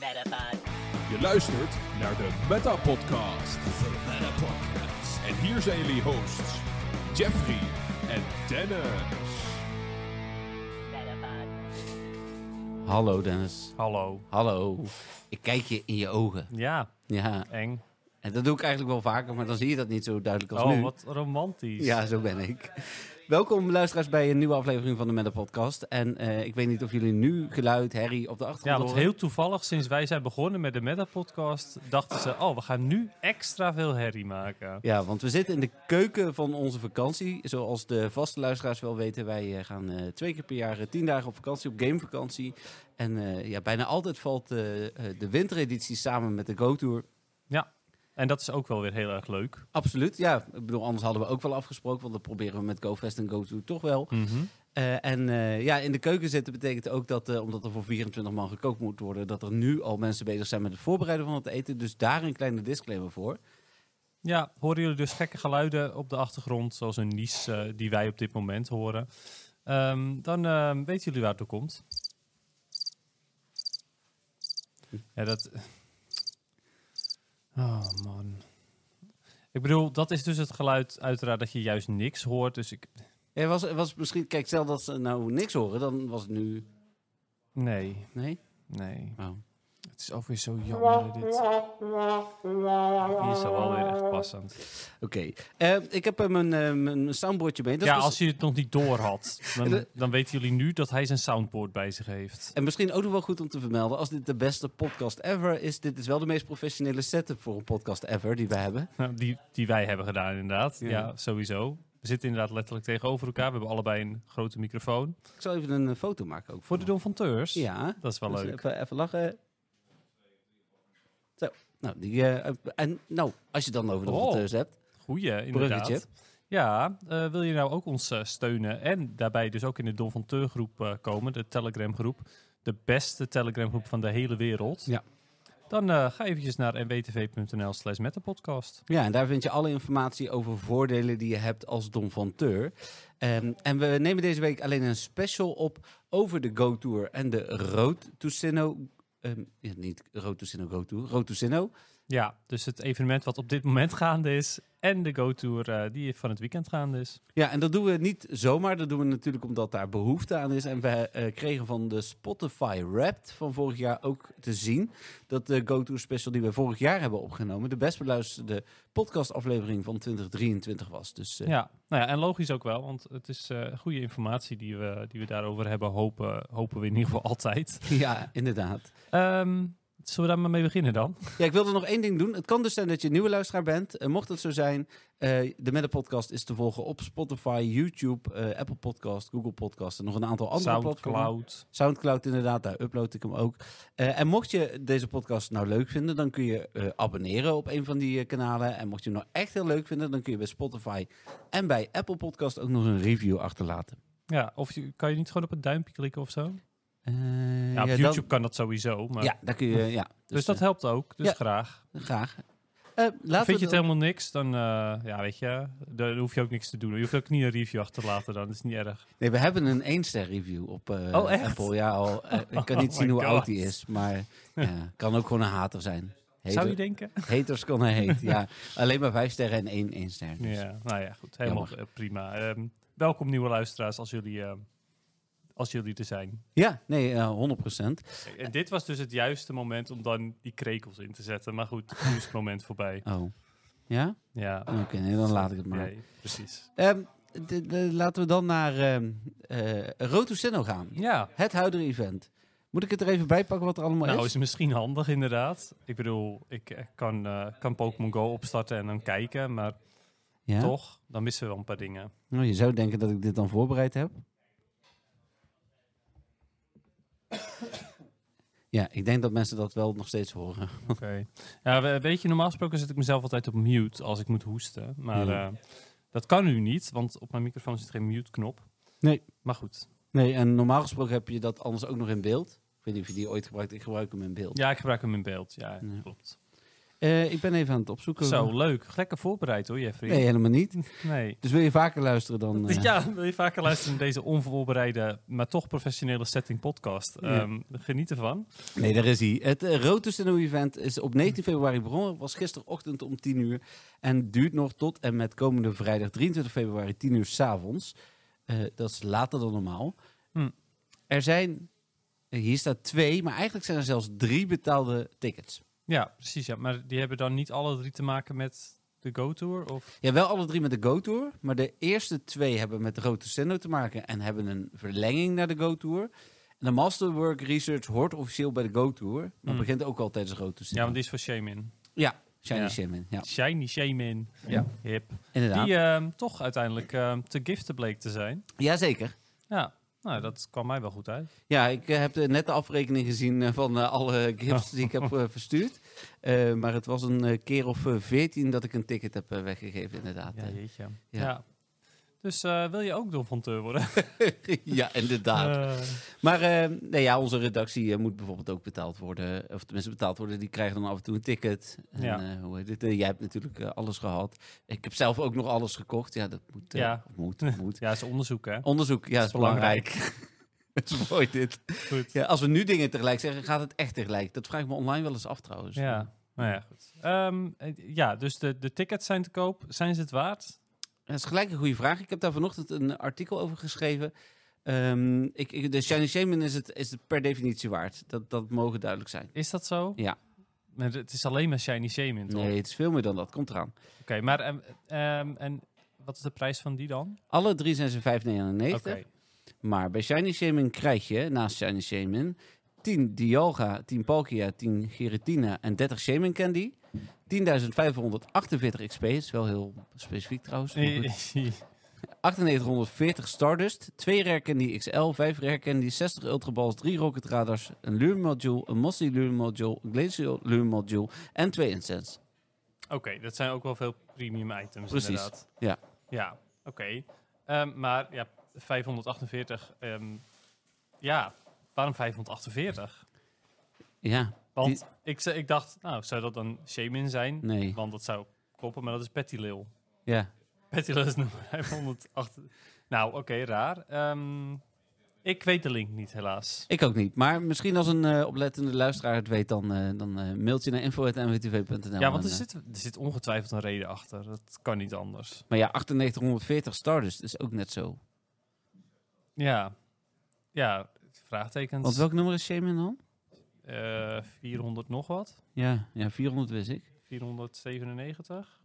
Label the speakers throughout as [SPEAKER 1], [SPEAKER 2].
[SPEAKER 1] Metapod.
[SPEAKER 2] Je luistert naar de Meta Podcast. De Meta Podcast. En hier zijn jullie hosts, Jeffrey en Dennis.
[SPEAKER 1] Metapod.
[SPEAKER 3] Hallo Dennis.
[SPEAKER 4] Hallo.
[SPEAKER 3] Hallo. Ik kijk je in je ogen.
[SPEAKER 4] Ja,
[SPEAKER 3] Ja.
[SPEAKER 4] eng.
[SPEAKER 3] En dat doe ik eigenlijk wel vaker, maar dan zie je dat niet zo duidelijk als
[SPEAKER 4] Oh,
[SPEAKER 3] nu.
[SPEAKER 4] wat romantisch.
[SPEAKER 3] Ja, zo ben ik. Welkom luisteraars bij een nieuwe aflevering van de Meta Podcast. En eh, ik weet niet of jullie nu geluid, herrie op de
[SPEAKER 4] Ja,
[SPEAKER 3] achtergrond
[SPEAKER 4] want
[SPEAKER 3] horen.
[SPEAKER 4] heel toevallig, sinds wij zijn begonnen met de Meta-podcast, dachten ze, oh, we gaan nu extra veel herrie maken.
[SPEAKER 3] Ja, want we zitten in de keuken van onze vakantie. Zoals de vaste luisteraars wel weten, wij eh, gaan eh, twee keer per jaar eh, tien dagen op vakantie, op gamevakantie. En eh, ja, bijna altijd valt eh, eh, de wintereditie samen met de Go Tour.
[SPEAKER 4] En dat is ook wel weer heel erg leuk.
[SPEAKER 3] Absoluut, ja. Ik bedoel, anders hadden we ook wel afgesproken, want dat proberen we met GoFest en GoTo toch wel.
[SPEAKER 4] Hm.
[SPEAKER 3] Eh, en eh, ja, in de keuken zitten betekent ook dat, eh, omdat er voor 24 man gekookt moet worden, dat er nu al mensen bezig zijn met het voorbereiden van het eten. Dus daar een kleine disclaimer voor.
[SPEAKER 4] Ja, horen jullie dus gekke geluiden op de achtergrond, zoals een nies eh, die wij op dit moment horen. Ehm, dan ehm, weten jullie waar het door komt. Ja, dat... Oh, man. Ik bedoel, dat is dus het geluid uiteraard dat je juist niks hoort, dus ik...
[SPEAKER 3] Er was, er was misschien, kijk, stel dat ze nou niks horen, dan was het nu.
[SPEAKER 4] Nee,
[SPEAKER 3] Nee?
[SPEAKER 4] nee.
[SPEAKER 3] Oh.
[SPEAKER 4] Het is ook weer zo jammer dit. Hier is dat wel weer echt passend.
[SPEAKER 3] Oké. Eh, ik heb eh, mijn, eh, mijn soundboardje mee. Dat
[SPEAKER 4] ja,
[SPEAKER 3] was-
[SPEAKER 4] als je het nog niet door had, dan,
[SPEAKER 3] Dat-
[SPEAKER 4] dan weten jullie nu dat hij zijn soundboard bij zich heeft.
[SPEAKER 3] dus- En misschien ook nog wel goed om te vermelden, als dit de beste podcast ever is, dit is wel de meest professionele setup voor een podcast ever die we hebben.
[SPEAKER 4] Nou, Die, die wij hebben gedaan inderdaad.
[SPEAKER 3] Ja.
[SPEAKER 4] Ja. sowieso. We zitten inderdaad letterlijk tegenover elkaar. We hebben allebei een grote microfoon.
[SPEAKER 3] Ik zal even een eh, foto maken ook.
[SPEAKER 4] Voor de Don van Teurs.
[SPEAKER 3] Ja.
[SPEAKER 4] Dat is wel
[SPEAKER 3] Dus
[SPEAKER 4] leuk.
[SPEAKER 3] Even, even lachen. Zo. Nou, die, eh, en, nou, als je het dan over de
[SPEAKER 4] Oh.
[SPEAKER 3] rapporteurs hebt.
[SPEAKER 4] Goeie, inderdaad.
[SPEAKER 3] Bruggetje.
[SPEAKER 4] Ja, eh, wil je nou ook ons eh, steunen en daarbij dus ook in de Don van Teur groep eh, komen, de Telegram groep, de beste Telegram groep van de hele wereld?
[SPEAKER 3] Ja.
[SPEAKER 4] Dan eh, ga eventjes naar nwtv.nl slash met de podcast.
[SPEAKER 3] Ja, en daar vind je alle informatie over voordelen die je hebt als Don van Teur. Ehm, en we nemen deze week alleen een special op over de Go Tour en de Road to Sinnoh. Ehm, ja, niet Road to Sinnoh Go Tour, Road to Sinnoh.
[SPEAKER 4] Ja, dus het evenement wat op dit moment gaande is en de Go-Tour eh, die van het weekend gaande is.
[SPEAKER 3] Ja, en dat doen we niet zomaar. Dat doen we natuurlijk omdat daar behoefte aan is. En we eh, kregen van de Spotify Wrapped van vorig jaar ook te zien dat de GoTo special die we vorig jaar hebben opgenomen de best beluisterde podcastaflevering van 2023 was. Dus eh,
[SPEAKER 4] Ja, nou ja, en logisch ook wel, want het is eh, goede informatie die we, die we daarover hebben, hopen, hopen we in ieder geval altijd.
[SPEAKER 3] ja, inderdaad.
[SPEAKER 4] Ehm, zullen we daar maar mee beginnen dan?
[SPEAKER 3] Ja, ik wilde nog één ding doen. Het kan dus zijn dat je een nieuwe luisteraar bent. Eh, mocht dat zo zijn, eh, de Meta Podcast is te volgen op Spotify, YouTube, eh, Apple Podcast, Google Podcast en nog een aantal andere platformen.
[SPEAKER 4] Soundcloud.
[SPEAKER 3] Soundcloud inderdaad, daar upload ik hem ook. Eh, en mocht je deze podcast nou leuk vinden, dan kun je eh, abonneren op een van die eh, kanalen. En mocht je hem nou echt heel leuk vinden, dan kun je bij Spotify en bij Apple Podcast ook nog een review achterlaten.
[SPEAKER 4] Ja, of je, kan je niet gewoon op het duimpje klikken of zo?
[SPEAKER 3] Eh,
[SPEAKER 4] ja, op
[SPEAKER 3] dan-
[SPEAKER 4] YouTube kan dat sowieso, maar...
[SPEAKER 3] ja, daar kun je, ja.
[SPEAKER 4] Dus, dat helpt ook, dus
[SPEAKER 3] Ja.
[SPEAKER 4] graag.
[SPEAKER 3] eh, graag. Eh, laten
[SPEAKER 4] Vind je
[SPEAKER 3] we
[SPEAKER 4] het helemaal niks, dan eh, ja, weet je, dan hoef je ook niks te doen. Je hoeft ook niet een review achter te laten dan, dat is niet erg.
[SPEAKER 3] Nee, we hebben een 1 ster review op eh,
[SPEAKER 4] Oh, echt?
[SPEAKER 3] Apple. Ja, al, eh, ik kan niet
[SPEAKER 4] Oh
[SPEAKER 3] zien
[SPEAKER 4] my
[SPEAKER 3] hoe
[SPEAKER 4] God.
[SPEAKER 3] oud die is, maar ja, kan ook gewoon een hater zijn.
[SPEAKER 4] Zou je
[SPEAKER 3] Hater-
[SPEAKER 4] denken?
[SPEAKER 3] haters kan hij heet, ja. Alleen maar 5 sterren en 1 één ster. Dus.
[SPEAKER 4] Ja, nou ja, goed. Helemaal eh, prima. Ehm, welkom nieuwe luisteraars als jullie, eh, als jullie er zijn.
[SPEAKER 3] Ja, nee, eh, 100%.
[SPEAKER 4] En dit was dus het juiste moment om dan die krekels in te zetten. Maar goed, nu is het moment voorbij.
[SPEAKER 3] Oh. Ja?
[SPEAKER 4] Ja,
[SPEAKER 3] Oké, nee, dan laat ik het maar.
[SPEAKER 4] nee, precies.
[SPEAKER 3] Ehm, de- de- laten we dan naar ehm eh Roto Senno gaan.
[SPEAKER 4] Ja,
[SPEAKER 3] Het huidige event. Moet ik het er even bij pakken wat er allemaal
[SPEAKER 4] nou
[SPEAKER 3] is?
[SPEAKER 4] is misschien handig inderdaad. Ik bedoel, ik eh, kan, eh, kan Pokémon Go opstarten en dan kijken. Maar
[SPEAKER 3] Ja?
[SPEAKER 4] toch, dan missen we wel een paar dingen.
[SPEAKER 3] Nou, je zou denken dat ik dit dan voorbereid heb. ja, ik denk dat mensen dat wel nog steeds horen.
[SPEAKER 4] Oké. Ja, we- weet je, normaal gesproken zet ik mezelf altijd op mute als ik moet hoesten. Maar
[SPEAKER 3] Ja.
[SPEAKER 4] eh, dat kan nu niet, want op mijn microfoon zit geen mute-knop.
[SPEAKER 3] Nee.
[SPEAKER 4] Maar goed,
[SPEAKER 3] Nee, en normaal gesproken heb je dat anders ook nog in beeld. Ik weet niet of je die ooit gebruikt. Ik gebruik hem in beeld.
[SPEAKER 4] Ja, ik gebruik hem in beeld. Ja,
[SPEAKER 3] Ja.
[SPEAKER 4] klopt.
[SPEAKER 3] Eh, ik ben even aan het opzoeken.
[SPEAKER 4] Zo, leuk. Lekker voorbereid hoor, Jeffrey.
[SPEAKER 3] Nee, helemaal niet.
[SPEAKER 4] Nee.
[SPEAKER 3] Dus wil je vaker luisteren dan... eh,
[SPEAKER 4] Dus Ja, wil je vaker luisteren naar deze onvoorbereide, maar toch professionele setting podcast?
[SPEAKER 3] Ja.
[SPEAKER 4] Ehm, geniet ervan.
[SPEAKER 3] Nee, daar is hij. Het uh, Event is op 19 februari begonnen. Was gisterochtend om 10 uur. En duurt nog tot en met komende vrijdag 23 februari 10 uur s'avonds. Eh dat is later dan normaal.
[SPEAKER 4] Hm.
[SPEAKER 3] Er zijn, eh, hier staat twee, maar eigenlijk zijn er zelfs drie betaalde tickets.
[SPEAKER 4] Ja, precies. Ja. Maar die hebben dan niet alle drie te maken met de Go-Tour? Of...
[SPEAKER 3] Ja, wel alle drie met de Go-Tour. Maar de eerste twee hebben met de Roto Sendo te maken en hebben een verlenging naar de Go-Tour. En de Masterwork Research hoort officieel bij de Go-Tour. Maar
[SPEAKER 4] Hm.
[SPEAKER 3] begint ook al tijdens de Roto
[SPEAKER 4] Ja,
[SPEAKER 3] Sendo.
[SPEAKER 4] want die is voor Shaman.
[SPEAKER 3] Ja, Shiny
[SPEAKER 4] Ja.
[SPEAKER 3] Shaman. Ja,
[SPEAKER 4] Shiny Shaman.
[SPEAKER 3] Ja.
[SPEAKER 4] Hip.
[SPEAKER 3] inderdaad.
[SPEAKER 4] Die eh, ehm, toch uiteindelijk ehm, te giften bleek te zijn.
[SPEAKER 3] Jazeker.
[SPEAKER 4] Ja, nou, dat kwam mij wel goed uit.
[SPEAKER 3] Ja, ik eh, heb eh, net de afrekening gezien eh, van eh, alle gifts die ik heb eh, verstuurd. Eh, maar het was een eh, keer of veertien dat ik een ticket heb eh, weggegeven, inderdaad.
[SPEAKER 4] Ja,
[SPEAKER 3] Eh,
[SPEAKER 4] jeetje. Ja.
[SPEAKER 3] ja.
[SPEAKER 4] Dus eh, wil je ook Don van Teur worden?
[SPEAKER 3] ja, inderdaad.
[SPEAKER 4] Eh,
[SPEAKER 3] Maar eh, nee, ja, onze redactie eh, moet bijvoorbeeld ook betaald worden. Of tenminste betaald worden, die krijgen dan af en toe een ticket. En,
[SPEAKER 4] Ja.
[SPEAKER 3] eh, hoe heet het? Eh, jij hebt natuurlijk eh, alles gehad. Ik heb zelf ook nog alles gekocht. Ja, dat moet. eh,
[SPEAKER 4] Ja.
[SPEAKER 3] Moet, moet.
[SPEAKER 4] ja, is onderzoek, hè?
[SPEAKER 3] Onderzoek, ja,
[SPEAKER 4] is
[SPEAKER 3] is, belangrijk. Het is mooi dit.
[SPEAKER 4] Goed.
[SPEAKER 3] Ja, als we nu dingen tegelijk zeggen, gaat het echt tegelijk. Dat vraag ik me online wel eens af trouwens.
[SPEAKER 4] Ja, nou ja, goed. Ehm, eh, ja, dus de, de tickets zijn te koop. Zijn ze het waard?
[SPEAKER 3] Dat is gelijk een goede vraag. Ik heb daar vanochtend een artikel over geschreven. Ehm, ik, ik, de Shiny Shaman is het, is het per definitie waard. Dat, dat mogen duidelijk zijn.
[SPEAKER 4] Is dat zo?
[SPEAKER 3] Ja.
[SPEAKER 4] Maar het is alleen maar Shiny Shaman, toch?
[SPEAKER 3] Nee, het is veel meer dan dat. Komt eraan.
[SPEAKER 4] Oké, maar ehm, ehm, en wat is de prijs van die dan?
[SPEAKER 3] Alle drie zijn ze 5,99.
[SPEAKER 4] Oké.
[SPEAKER 3] Maar bij Shiny Shaman krijg je, naast Shiny Shaman, 10 Dialga, 10 Palkia, 10 Giratina en 30 Shaman Candy. 10.548 XP, is wel heel specifiek trouwens. maar goed. 9840 Stardust, 2 Rare Candy XL, 5 Rare Candy, 60 Ultra Balls, 3 Rocket Radars, een Lure Module, een Mossy Lure Module, een Glacial Lure Module en 2 Incense.
[SPEAKER 4] Oké, dat zijn ook wel veel premium items
[SPEAKER 3] Precies,
[SPEAKER 4] inderdaad.
[SPEAKER 3] ja.
[SPEAKER 4] Ja, oké. Ehm, maar ja, 548. ehm, ja, waarom 548?
[SPEAKER 3] Ja,
[SPEAKER 4] Want ik, ze- ik dacht, nou, zou dat dan Shaman zijn?
[SPEAKER 3] nee.
[SPEAKER 4] Want dat zou kloppen, maar dat is Petty Lil.
[SPEAKER 3] Ja.
[SPEAKER 4] Petty Lil is nummer 508. Nou, oké, raar. Ehm, ik weet de link niet, helaas.
[SPEAKER 3] Ik ook niet. Maar misschien als een eh, oplettende luisteraar het weet, dan, eh, dan eh, mailt je naar info.mwtv.nl.
[SPEAKER 4] ja, want er
[SPEAKER 3] En, eh,
[SPEAKER 4] zit, er zit ongetwijfeld een reden achter. Dat kan niet anders.
[SPEAKER 3] Maar ja, 9840 Stardust is ook net zo.
[SPEAKER 4] Ja, ja vraagtekens.
[SPEAKER 3] Want welk nummer is Shaman dan?
[SPEAKER 4] Eh, 400 nog wat?
[SPEAKER 3] Ja, ja 400 wist ik.
[SPEAKER 4] 497?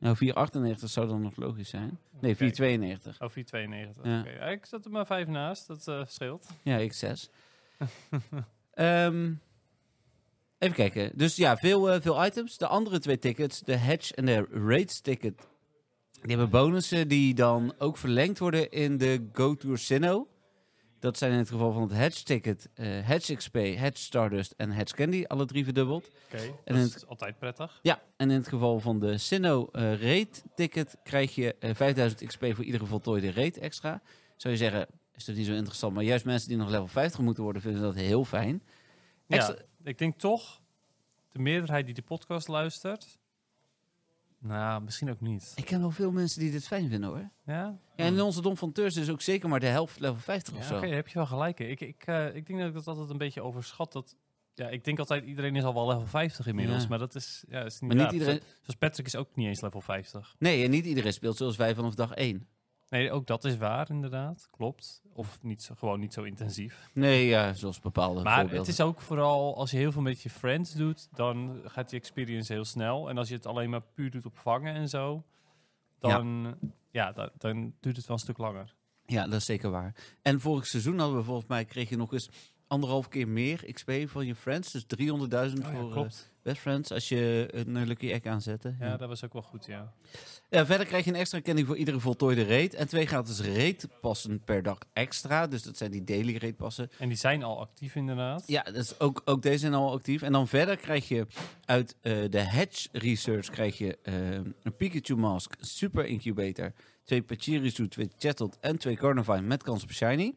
[SPEAKER 3] Nou, 498 zou dan nog logisch zijn. Nee,
[SPEAKER 4] Oké.
[SPEAKER 3] 492.
[SPEAKER 4] Oh, 492.
[SPEAKER 3] Ja.
[SPEAKER 4] Oké, ja, ik zat er maar vijf naast. Dat eh, scheelt.
[SPEAKER 3] Ja, ik 6. Ehm, even kijken. Dus ja, veel, eh, veel items. De andere twee tickets, de Hedge en de Raids ticket, die hebben bonussen die dan ook verlengd worden in de Go Tour Sinnoh. Dat zijn in het geval van het Hedge ticket, eh, Hedge XP, Hedge Stardust en Hedge Candy, alle drie verdubbeld.
[SPEAKER 4] Oké, dat
[SPEAKER 3] En
[SPEAKER 4] is
[SPEAKER 3] het-
[SPEAKER 4] altijd prettig.
[SPEAKER 3] Ja, en in het geval van de Sinnoh eh, raid ticket krijg je eh, 5000 XP voor iedere voltooide raid extra. Zou je zeggen, is dat niet zo interessant, maar juist mensen die nog level 50 moeten worden vinden dat heel fijn. Extra-
[SPEAKER 4] Ja, ik denk toch, de meerderheid die de podcast luistert... Nou, misschien ook niet.
[SPEAKER 3] Ik ken wel veel mensen die dit fijn vinden hoor.
[SPEAKER 4] Ja?
[SPEAKER 3] Ja, en in onze Dom van Teurs is ook zeker maar de helft level 50
[SPEAKER 4] Ja,
[SPEAKER 3] of
[SPEAKER 4] Oké,
[SPEAKER 3] zo.
[SPEAKER 4] daar heb je wel gelijk. in. Ik, ik, eh, ik denk dat ik dat altijd een beetje overschat. Dat, ja, ik denk altijd, iedereen is al wel level 50 inmiddels.
[SPEAKER 3] Ja.
[SPEAKER 4] Maar dat is, ja, dat is niet
[SPEAKER 3] Maar niet
[SPEAKER 4] waar.
[SPEAKER 3] iedereen...
[SPEAKER 4] Zoals Patrick is ook niet eens level 50.
[SPEAKER 3] Nee, en niet iedereen speelt zoals wij vanaf dag 1.
[SPEAKER 4] Nee, ook dat is waar inderdaad. Klopt. Of niet zo, gewoon niet zo intensief.
[SPEAKER 3] Nee, ja, zoals bepaalde
[SPEAKER 4] Maar
[SPEAKER 3] voorbeelden.
[SPEAKER 4] het is ook vooral, als je heel veel met je friends doet, dan gaat die experience heel snel. En als je het alleen maar puur doet op vangen en zo, dan, ja. dan, dan duurt het wel een stuk langer.
[SPEAKER 3] Ja, dat is zeker waar. En vorig seizoen hadden we volgens mij, kreeg je nog eens anderhalf keer meer XP van je friends. Dus 300.000 voor... eh,
[SPEAKER 4] Oh klopt.
[SPEAKER 3] Best Friends, als je een eh, Lucky Egg aanzette.
[SPEAKER 4] Ja, dat was ook wel goed, ja.
[SPEAKER 3] Ja, verder krijg je een extra kenning voor iedere voltooide raid. En twee gratis raidpassen per dag extra. Dus dat zijn die daily raidpassen.
[SPEAKER 4] En die zijn al actief inderdaad.
[SPEAKER 3] Ja, dat is ook, ook deze zijn al actief. En dan verder krijg je uit eh, de Hedge Research krijg je, eh, een Pikachu Mask, een Super Incubator, twee Pachirisu, twee Chatot en twee Carnivine met kans op Shiny.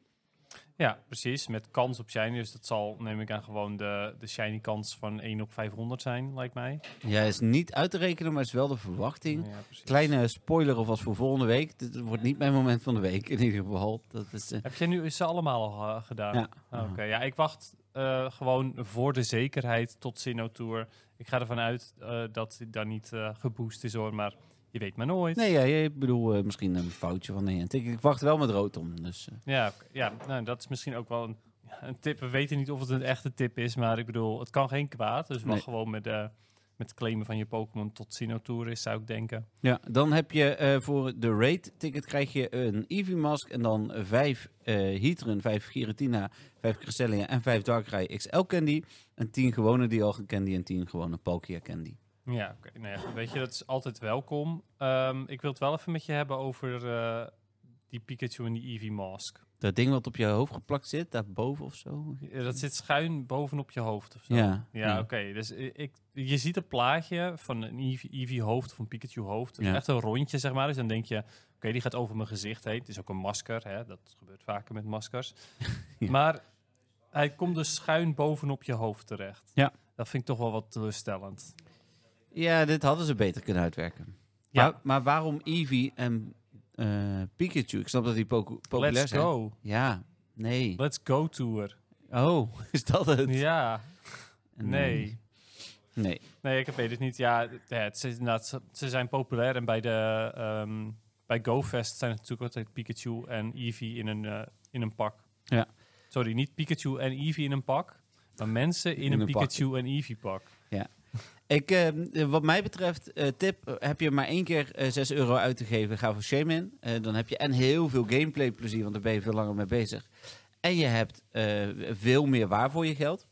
[SPEAKER 4] Ja, precies. Met kans op shiny. Dus dat zal, neem ik aan, gewoon de, de shiny kans van 1 op 500 zijn, lijkt mij.
[SPEAKER 3] Ja, is niet uit te rekenen, maar is wel de verwachting.
[SPEAKER 4] Ja, precies.
[SPEAKER 3] Kleine spoiler alvast voor volgende week. Dit wordt niet mijn moment van de week in ieder geval. Dat is, eh,
[SPEAKER 4] Heb jij nu ze allemaal al eh, gedaan?
[SPEAKER 3] Ja.
[SPEAKER 4] Ah, Oké, ja, ik wacht eh, gewoon voor de zekerheid tot Sinnoh Tour. Ik ga ervan uit eh, dat dit dan niet eh, geboost is hoor, maar je weet maar nooit.
[SPEAKER 3] Nee, ja, ja, ik bedoel eh, misschien een foutje van de hint. Ik, ik wacht wel met rood om. Dus, eh.
[SPEAKER 4] Ja, oké. ja nou, dat is misschien ook wel een, een tip. We weten niet of het een echte tip is, maar ik bedoel, het kan geen kwaad. Dus wacht
[SPEAKER 3] Nee.
[SPEAKER 4] gewoon met, eh, met het claimen van je Pokémon tot Sinnoh Tour is, zou ik denken.
[SPEAKER 3] ja, dan heb je eh, voor de raid ticket krijg je een Eevee mask en dan vijf eh Heatran, vijf Giratina, vijf Cresselia en vijf Darkrai XL candy. En tien gewone Dialga candy en tien gewone Palkia candy.
[SPEAKER 4] Ja, oké. Nou ja, weet je, dat is altijd welkom. Ehm, ik wil het wel even met je hebben over eh, die Pikachu en die Eevee Mask.
[SPEAKER 3] Dat ding wat op je hoofd geplakt zit, daarboven of zo.
[SPEAKER 4] Ja, dat zit schuin bovenop je hoofd of zo.
[SPEAKER 3] Ja,
[SPEAKER 4] Ja,
[SPEAKER 3] ja.
[SPEAKER 4] oké. Dus i- ik, je ziet een plaatje van een Eevee- Eevee hoofd of een Pikachu hoofd. Dus
[SPEAKER 3] Ja.
[SPEAKER 4] Echt een rondje, zeg maar. Dus dan denk je, oké, die gaat over mijn gezicht heen. Het is ook een masker, hè. Dat gebeurt vaker met maskers.
[SPEAKER 3] Ja.
[SPEAKER 4] Maar hij komt dus schuin bovenop je hoofd terecht.
[SPEAKER 3] Ja.
[SPEAKER 4] Dat vind ik toch wel wat teleurstellend.
[SPEAKER 3] Ja, dit hadden ze beter kunnen uitwerken.
[SPEAKER 4] Ja.
[SPEAKER 3] Maar, maar waarom Eevee en eh, Pikachu? Ik snap dat die poco- populair
[SPEAKER 4] Let's
[SPEAKER 3] zijn.
[SPEAKER 4] go.
[SPEAKER 3] Ja, nee.
[SPEAKER 4] Let's go tour.
[SPEAKER 3] Oh, is dat het?
[SPEAKER 4] Ja,
[SPEAKER 3] En,
[SPEAKER 4] nee.
[SPEAKER 3] eh, Nee.
[SPEAKER 4] Nee, ik weet het niet. Ja, het- ja, het is inderdaad, ze- ze zijn populair. En bij, de, ehm bij GoFest zijn het natuurlijk altijd Pikachu en Eevee in een, eh, in een pak.
[SPEAKER 3] Ja.
[SPEAKER 4] Sorry, niet Pikachu en Eevee in een pak. Maar mensen in,
[SPEAKER 3] In
[SPEAKER 4] een,
[SPEAKER 3] een pak.
[SPEAKER 4] Pikachu en Eevee pak.
[SPEAKER 3] Ik, eh, wat mij betreft, eh, tip, eh, heb je maar één keer eh, 6 euro uit te geven, ga voor Shaman. Eh dan heb je en heel veel gameplay plezier, want daar ben je veel langer mee bezig. En je hebt eh, veel meer waar voor je geld.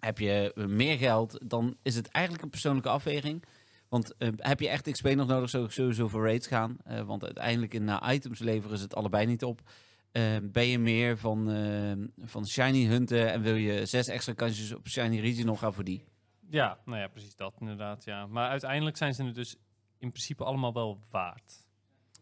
[SPEAKER 3] Heb je eh, meer geld, dan is het eigenlijk een persoonlijke afweging. Want eh, heb je echt XP nog nodig, zou ik sowieso voor raids gaan. Eh, want uiteindelijk in eh, items leveren ze het allebei niet op. Eh, ben je meer van, eh, van shiny hunten en wil je zes extra kansjes op shiny regional, ga voor die.
[SPEAKER 4] Ja, nou ja, precies dat inderdaad. Ja. Maar uiteindelijk zijn ze het dus in principe allemaal wel waard.